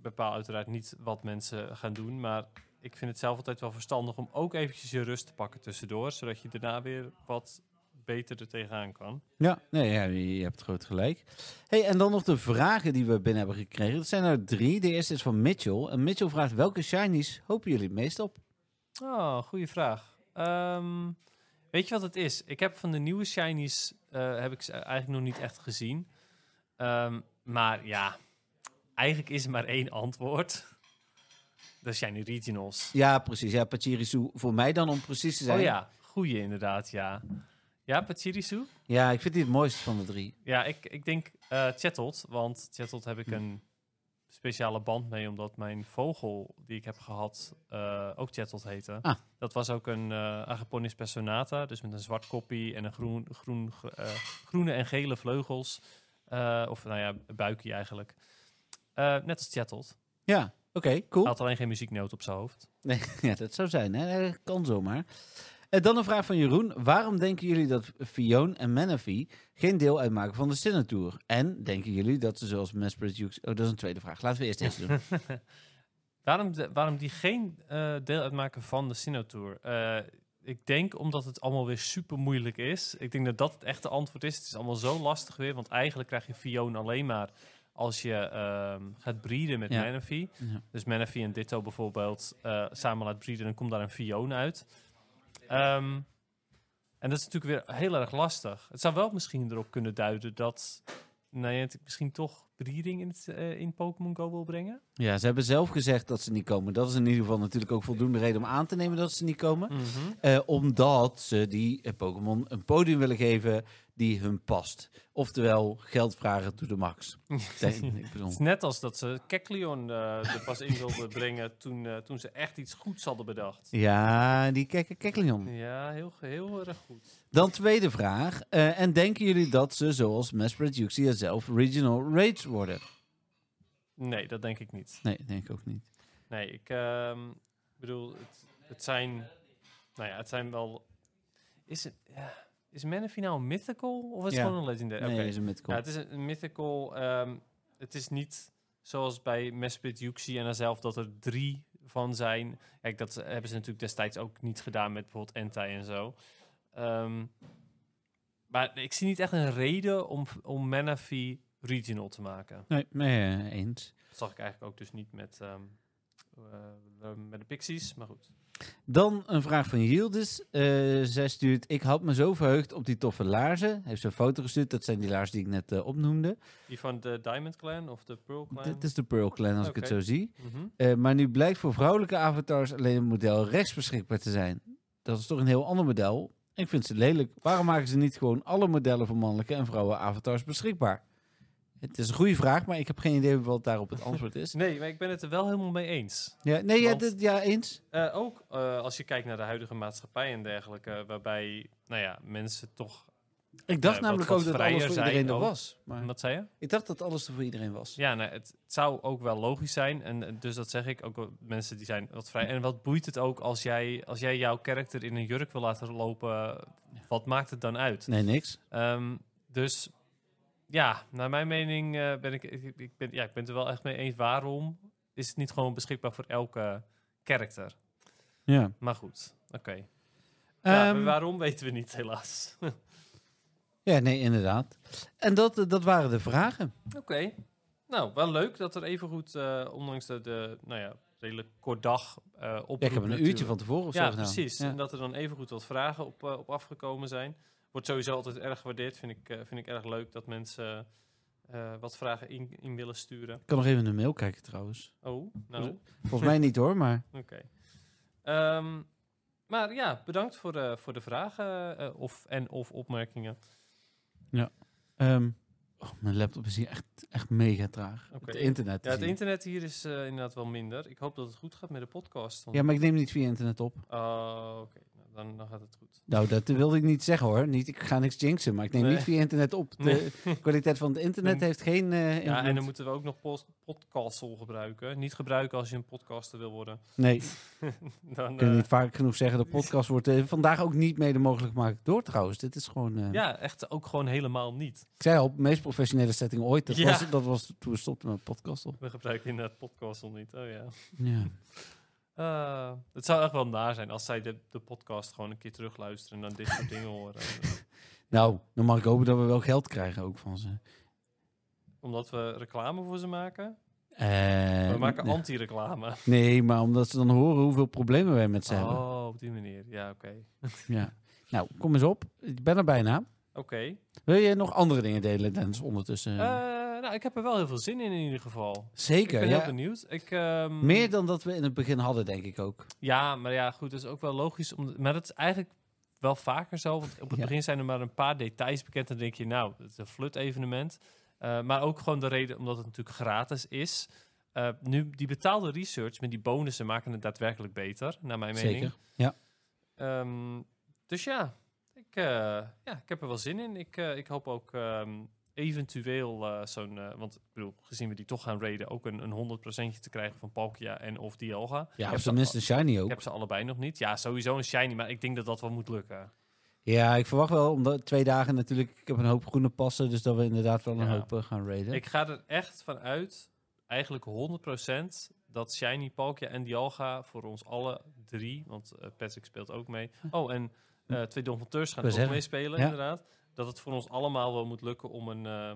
[SPEAKER 4] bepaal uiteraard niet wat mensen gaan doen, maar... Ik vind het zelf altijd wel verstandig om ook eventjes je rust te pakken tussendoor, zodat je daarna weer wat beter er tegenaan kan.
[SPEAKER 3] Ja, nee, ja, je je hebt groot gelijk. Hey, en dan nog de vragen die we binnen hebben gekregen. Dat zijn er drie. De eerste is van Mitchell. En Mitchell vraagt, welke shinies hopen jullie het meest op?
[SPEAKER 4] Oh, goede vraag. Ehm, weet je wat het is? Ik heb van de nieuwe shinies eh, heb ik ze eigenlijk nog niet echt gezien. Ehm, maar ja, eigenlijk is er maar één antwoord. Dat zijn de regionals.
[SPEAKER 3] Ja, precies. Ja, Pachirisu voor mij dan om precies te zijn.
[SPEAKER 4] Oh ja, goeie inderdaad, ja. Ja, Pachirisu?
[SPEAKER 3] ja, ik vind die het mooiste van de drie.
[SPEAKER 4] Ja, ik, ik denk eh Chattelt, want Chattelt heb ik een speciale band mee, omdat mijn vogel die ik heb gehad eh, ook Chattelt heette.
[SPEAKER 3] Ah.
[SPEAKER 4] Dat was ook een eh Agaponis personata, dus met een zwart koppie en een groen, groen, ge- eh, groene en gele vleugels. Eh, of nou ja, buikje eigenlijk. Eh, net als Chattelt.
[SPEAKER 3] Ja, oké, cool.
[SPEAKER 4] Had alleen geen muzieknoot op zijn hoofd.
[SPEAKER 3] Nee, ja, dat zou zijn. Hè? Eh, Kan zomaar. En dan een vraag van Jeroen. Waarom denken jullie dat Fionn en Manaphy geen deel uitmaken van de Sinnatour? En denken jullie dat ze zoals Mesprit Hughes... Oh, dat is een tweede vraag. Laten we eerst deze doen.
[SPEAKER 4] Waarom, de- waarom die geen eh, deel uitmaken van de Sinotour? Eh ik denk omdat het allemaal weer super moeilijk is. Ik denk dat dat het echte antwoord is. Het is allemaal zo lastig weer, want eigenlijk krijg je Fionn alleen maar als je ehm, gaat breeden met
[SPEAKER 3] Ja.
[SPEAKER 4] Manaphy.
[SPEAKER 3] Ja.
[SPEAKER 4] Dus Manaphy en Ditto bijvoorbeeld eh, samen laat breeden, dan komt daar een Fionn uit. Ehm, en dat is natuurlijk weer heel erg lastig. Het zou wel misschien erop kunnen duiden dat Niantic misschien toch breeding in, het, eh, in Pokémon Go wil brengen.
[SPEAKER 3] Ja, ze hebben zelf gezegd dat ze niet komen. Dat is in ieder geval natuurlijk ook voldoende reden om aan te nemen dat ze niet komen. Eh, omdat ze die eh, Pokémon een podium willen geven die hun past. Oftewel, geld vragen to de max. Nee, ik bedoel...
[SPEAKER 4] Het is net als dat ze Keklion eh, er pas in wilden brengen toen, eh, toen ze echt iets goeds hadden bedacht.
[SPEAKER 3] Ja, die kekker Keklion.
[SPEAKER 4] Ja, heel, heel erg goed.
[SPEAKER 3] Dan tweede vraag. Eh, en denken jullie dat ze, zoals Mesprit Juxia zelf, regional raids worden?
[SPEAKER 4] Nee, dat denk ik niet.
[SPEAKER 3] Nee, denk ik ook niet.
[SPEAKER 4] Nee, ik ehm, bedoel, het, het zijn... Nou ja, het zijn wel... Is, het, ja, is Manaphy nou een mythical of is
[SPEAKER 3] Ja.
[SPEAKER 4] het gewoon een legendary?
[SPEAKER 3] Nee,
[SPEAKER 4] Eh, Oké.
[SPEAKER 3] is een midcom.
[SPEAKER 4] Ja, het is een, een mythical. ehm, het is niet zoals bij Mesprit, Yuxi en haarzelf dat er drie van zijn. Kijk, dat hebben ze natuurlijk destijds ook niet gedaan met bijvoorbeeld Entai en zo. Ehm, maar ik zie niet echt een reden om, om Manaphy regional te maken.
[SPEAKER 3] Nee, nee, eh, eens.
[SPEAKER 4] Dat zag ik eigenlijk ook dus niet met ehm eh, met de Pixies, maar goed.
[SPEAKER 3] Dan een vraag van Yildiz. Eh, zij stuurt: Ik had me zo verheugd op die toffe laarzen. Heeft ze een foto gestuurd? Dat zijn die laarzen die ik net eh, opnoemde.
[SPEAKER 4] Die van de Diamond Clan of de Pearl Clan.
[SPEAKER 3] Dit is de Pearl Clan, als ik het
[SPEAKER 4] Oké.
[SPEAKER 3] zo zie.
[SPEAKER 4] Mhm.
[SPEAKER 3] Eh, maar nu blijkt voor vrouwelijke avatars alleen een model rechts beschikbaar te zijn. Dat is toch een heel ander model? Ik vind ze lelijk. Waarom maken ze niet gewoon alle modellen voor mannelijke en vrouwen avatars beschikbaar? Het is een goede vraag, maar ik heb geen idee wat daarop het antwoord is.
[SPEAKER 4] Nee, maar ik ben het er wel helemaal mee eens.
[SPEAKER 3] Ja, nee, ja,
[SPEAKER 4] Want-
[SPEAKER 3] dit, ja eens.
[SPEAKER 4] Eh, ook eh, als je kijkt naar de huidige maatschappij en dergelijke, waarbij nou ja, mensen toch.
[SPEAKER 3] Ik dacht
[SPEAKER 4] Eh, wat-
[SPEAKER 3] namelijk
[SPEAKER 4] wat
[SPEAKER 3] ook dat alles
[SPEAKER 4] vrijer
[SPEAKER 3] voor
[SPEAKER 4] zijn
[SPEAKER 3] iedereen er
[SPEAKER 4] ook.
[SPEAKER 3] was. Maar
[SPEAKER 4] Wat zei je?
[SPEAKER 3] ik dacht dat alles er voor iedereen was.
[SPEAKER 4] Ja, nou, het zou ook wel logisch zijn. En eh, dus dat zeg ik ook. wel, Mensen die zijn wat vrij. En wat boeit het ook als jij, als jij jouw karakter in een jurk wil laten lopen? Wat maakt het dan uit?
[SPEAKER 3] Nee, niks.
[SPEAKER 4] Ehm, dus ja, naar mijn mening eh, ben ik, ik, ik ben, ja, ik ben het er wel echt mee eens. Waarom is het niet gewoon beschikbaar voor elke karakter?
[SPEAKER 3] Ja.
[SPEAKER 4] Maar goed, oké. Ja, maar
[SPEAKER 3] Ehm,
[SPEAKER 4] waarom weten we niet, helaas. oké.
[SPEAKER 3] ja, nee, inderdaad. En dat, eh, dat waren de vragen.
[SPEAKER 4] Nou, wel leuk dat er even goed, eh, ondanks de, de nou ja, redelijk kort dag eh op.
[SPEAKER 3] Ja, ik heb een uurtje van tevoren of zo
[SPEAKER 4] Ja,
[SPEAKER 3] gedaan.
[SPEAKER 4] precies.
[SPEAKER 3] Ja.
[SPEAKER 4] En dat er dan even goed wat vragen op, eh, op afgekomen zijn. Wordt sowieso altijd erg gewaardeerd. Vind ik, eh, vind ik erg leuk dat mensen eh, wat vragen in, in willen sturen.
[SPEAKER 3] Ik kan nog even in de mail kijken trouwens.
[SPEAKER 4] Oh, nou, oké.
[SPEAKER 3] Volgens mij niet hoor, maar...
[SPEAKER 4] Ehm, maar ja, bedankt voor, eh, voor de vragen eh, of, en of opmerkingen.
[SPEAKER 3] Ehm, oh, mijn laptop is hier echt, echt mega traag.
[SPEAKER 4] Oké.
[SPEAKER 3] Het internet.
[SPEAKER 4] Ja,
[SPEAKER 3] is
[SPEAKER 4] het
[SPEAKER 3] hier-
[SPEAKER 4] internet hier is eh, inderdaad wel minder. Ik hoop dat het goed gaat met de podcast. want-
[SPEAKER 3] ja, maar ik neem niet via internet op.
[SPEAKER 4] Oh, oké. Nou, dan, dan gaat het goed.
[SPEAKER 3] Nou, dat wilde ik niet zeggen hoor. Niet, ik ga niks jinxen, maar ik neem
[SPEAKER 4] Nee.
[SPEAKER 3] niet via internet op. De kwaliteit van het internet
[SPEAKER 4] Dan-
[SPEAKER 3] heeft geen eh
[SPEAKER 4] Ja, en
[SPEAKER 3] invloed.
[SPEAKER 4] dan moeten we ook nog post- podcastel gebruiken. Niet gebruiken als je een podcaster wil worden.
[SPEAKER 3] Nee, ik
[SPEAKER 4] Dan,
[SPEAKER 3] kan
[SPEAKER 4] eh,
[SPEAKER 3] niet vaak genoeg zeggen. De podcast wordt eh, vandaag ook niet mede mogelijk gemaakt door trouwens. Dit is gewoon... eh,
[SPEAKER 4] Ja, echt ook gewoon helemaal niet.
[SPEAKER 3] Ik zei al, de meest professionele setting ooit. Dat,
[SPEAKER 4] Ja.
[SPEAKER 3] was, dat was toen we stopten met podcast op.
[SPEAKER 4] We gebruiken inderdaad podcast al niet. Oh ja.
[SPEAKER 3] Ja.
[SPEAKER 4] Eh, het zou echt wel naar zijn als zij de, de podcast gewoon een keer terugluisteren en dan dit soort dingen horen.
[SPEAKER 3] Nou, dan mag ik hopen dat we wel geld krijgen ook van ze.
[SPEAKER 4] Omdat we reclame voor ze maken.
[SPEAKER 3] Eh,
[SPEAKER 4] we maken
[SPEAKER 3] nee.
[SPEAKER 4] anti-reclame.
[SPEAKER 3] Nee, maar omdat ze dan horen hoeveel problemen wij met ze hebben.
[SPEAKER 4] Oh, op die manier. Ja, oké.
[SPEAKER 3] Ja. Nou, kom eens op. Ik ben er bijna.
[SPEAKER 4] Oké.
[SPEAKER 3] Wil je nog andere dingen delen, Dennis, ondertussen?
[SPEAKER 4] Eh, nou, ik heb er wel heel veel zin in in ieder geval. Ik
[SPEAKER 3] Zeker,
[SPEAKER 4] ben heel
[SPEAKER 3] ja.
[SPEAKER 4] benieuwd. Ik, ehm,
[SPEAKER 3] Meer dan dat we in het begin hadden, denk ik ook.
[SPEAKER 4] Ja, maar ja, goed, dat is ook wel logisch. Om, maar dat is eigenlijk wel vaker zo. Want op het
[SPEAKER 3] Ja.
[SPEAKER 4] begin zijn er maar een paar details bekend. Dan denk je, nou, het is een flut-evenement. Eh, maar ook gewoon de reden omdat het natuurlijk gratis is. Eh, nu, die betaalde research met die bonussen maken het daadwerkelijk beter, naar mijn mening.
[SPEAKER 3] Zeker. Ja.
[SPEAKER 4] Ehm, dus ja ik, eh, ja, ik heb er wel zin in. Ik, eh, ik hoop ook ehm, eventueel eh, zo'n... eh, want ik bedoel, gezien we die toch gaan raiden... ook een, een 100% te krijgen van Palkia en of Dialga. Ik
[SPEAKER 3] Ja,
[SPEAKER 4] heb
[SPEAKER 3] of
[SPEAKER 4] ze
[SPEAKER 3] tenminste Shiny
[SPEAKER 4] ik
[SPEAKER 3] ook.
[SPEAKER 4] heb ze allebei nog niet. Ja, sowieso een shiny, maar ik denk dat dat wel moet lukken.
[SPEAKER 3] Ja, ik verwacht wel, omdat twee dagen natuurlijk, ik heb een hoop groene passen, dus dat we inderdaad wel een
[SPEAKER 4] Ja.
[SPEAKER 3] hoop eh, gaan raiden.
[SPEAKER 4] Ik ga er echt van uit, eigenlijk 100%, dat shiny Palkia en Dialga voor ons alle drie, want eh, Patrick speelt ook mee. Oh, en eh, twee Donvateurs gaan
[SPEAKER 3] Hm. Wou
[SPEAKER 4] ook
[SPEAKER 3] zeggen,
[SPEAKER 4] meespelen,
[SPEAKER 3] ja.
[SPEAKER 4] inderdaad. Dat het voor ons allemaal wel moet lukken om een, eh,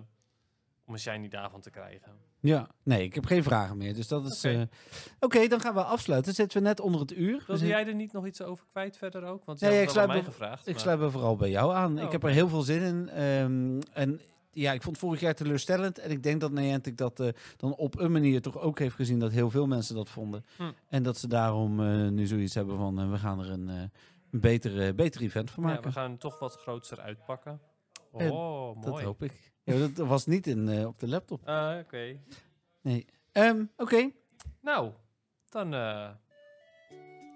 [SPEAKER 4] om een shiny daarvan te krijgen.
[SPEAKER 3] Ja, nee, ik heb geen vragen meer. Dus dat is.
[SPEAKER 4] Oké.
[SPEAKER 3] eh, Oké, dan gaan we afsluiten. Zitten we net onder het uur? Dus We
[SPEAKER 4] Wilde
[SPEAKER 3] zitten-
[SPEAKER 4] jij er niet nog iets over kwijt verder ook? Want je
[SPEAKER 3] Nee,
[SPEAKER 4] had
[SPEAKER 3] ik
[SPEAKER 4] het wel aan mij
[SPEAKER 3] sluit me-
[SPEAKER 4] gevraagd.
[SPEAKER 3] Ik
[SPEAKER 4] maar-
[SPEAKER 3] sluit me vooral bij jou aan.
[SPEAKER 4] Oh,
[SPEAKER 3] ik heb er heel veel zin in. Ehm, en ja, ik vond vorig jaar teleurstellend. En ik denk dat Niantic dat eh, dan op een manier toch ook heeft gezien dat heel veel mensen dat vonden.
[SPEAKER 4] Hm.
[SPEAKER 3] En dat ze daarom eh, nu zoiets hebben van eh, we gaan er een, eh, een beter, eh, beter event van
[SPEAKER 4] ja,
[SPEAKER 3] maken.
[SPEAKER 4] we gaan toch wat groter uitpakken.
[SPEAKER 3] Eh,
[SPEAKER 4] Oh, mooi.
[SPEAKER 3] dat hoop ik. Ja, dat was niet in, eh, op de laptop.
[SPEAKER 4] Ah, Oké.
[SPEAKER 3] Nee. Ehm, Oké,
[SPEAKER 4] Nou, dan eh,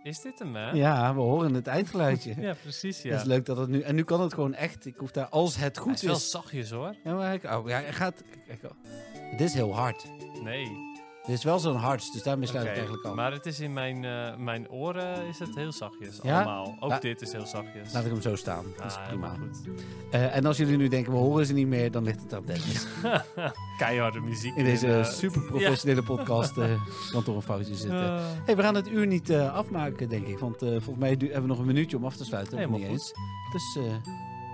[SPEAKER 4] is dit hem, hè?
[SPEAKER 3] ja, we horen het eindgeluidje.
[SPEAKER 4] Ja, precies, ja.
[SPEAKER 3] Dat is leuk dat het nu. En nu kan het gewoon echt. Ik hoef daar als het
[SPEAKER 4] Hij
[SPEAKER 3] goed
[SPEAKER 4] is wel
[SPEAKER 3] is.
[SPEAKER 4] zachtjes, hoor.
[SPEAKER 3] Ja, maar hij- oh, ja, hij gaat. Kijk, oh. Dit is heel hard.
[SPEAKER 4] Nee.
[SPEAKER 3] Dit is wel zo'n hard, dus daarmee sluit
[SPEAKER 4] Oké,
[SPEAKER 3] ik eigenlijk af.
[SPEAKER 4] Maar het is in mijn, eh, mijn oren is het heel zachtjes,
[SPEAKER 3] Ja?
[SPEAKER 4] allemaal. Ook
[SPEAKER 3] La-
[SPEAKER 4] dit is heel zachtjes.
[SPEAKER 3] Laat ik hem zo staan. Dat is
[SPEAKER 4] Ah,
[SPEAKER 3] prima.
[SPEAKER 4] maar goed.
[SPEAKER 3] Eh, en als jullie nu denken, we horen ze niet meer, dan ligt het aan Dennis.
[SPEAKER 4] Keiharde muziek.
[SPEAKER 3] In deze
[SPEAKER 4] eh,
[SPEAKER 3] super professionele podcast eh, kan toch een foutje zitten.
[SPEAKER 4] eh,
[SPEAKER 3] hey, we gaan het uur niet eh, afmaken, denk ik. Want eh, volgens mij du- hebben we nog een minuutje om af te sluiten. of
[SPEAKER 4] Helemaal
[SPEAKER 3] niet eens. Dus eh,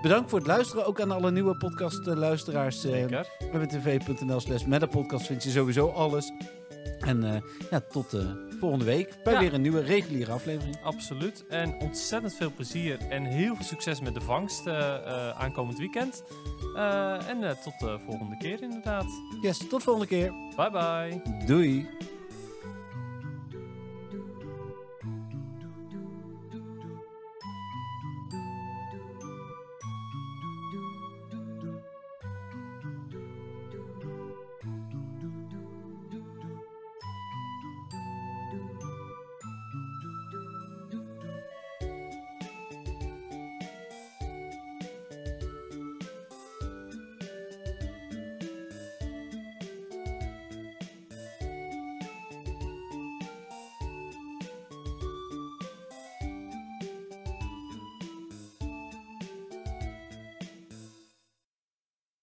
[SPEAKER 3] bedankt voor het luisteren. Ook aan alle nieuwe podcastluisteraars. eh
[SPEAKER 4] zeker.
[SPEAKER 3] www.tv.nl slash metapodcast vind je sowieso alles. En eh, ja, tot eh, volgende week bij
[SPEAKER 4] Ja.
[SPEAKER 3] weer een nieuwe reguliere aflevering.
[SPEAKER 4] Absoluut. En ontzettend veel plezier en heel veel succes met de vangst eh, eh, aankomend weekend. Eh, en eh, tot de volgende keer inderdaad.
[SPEAKER 3] Yes, tot volgende keer.
[SPEAKER 4] Bye bye.
[SPEAKER 3] Doei.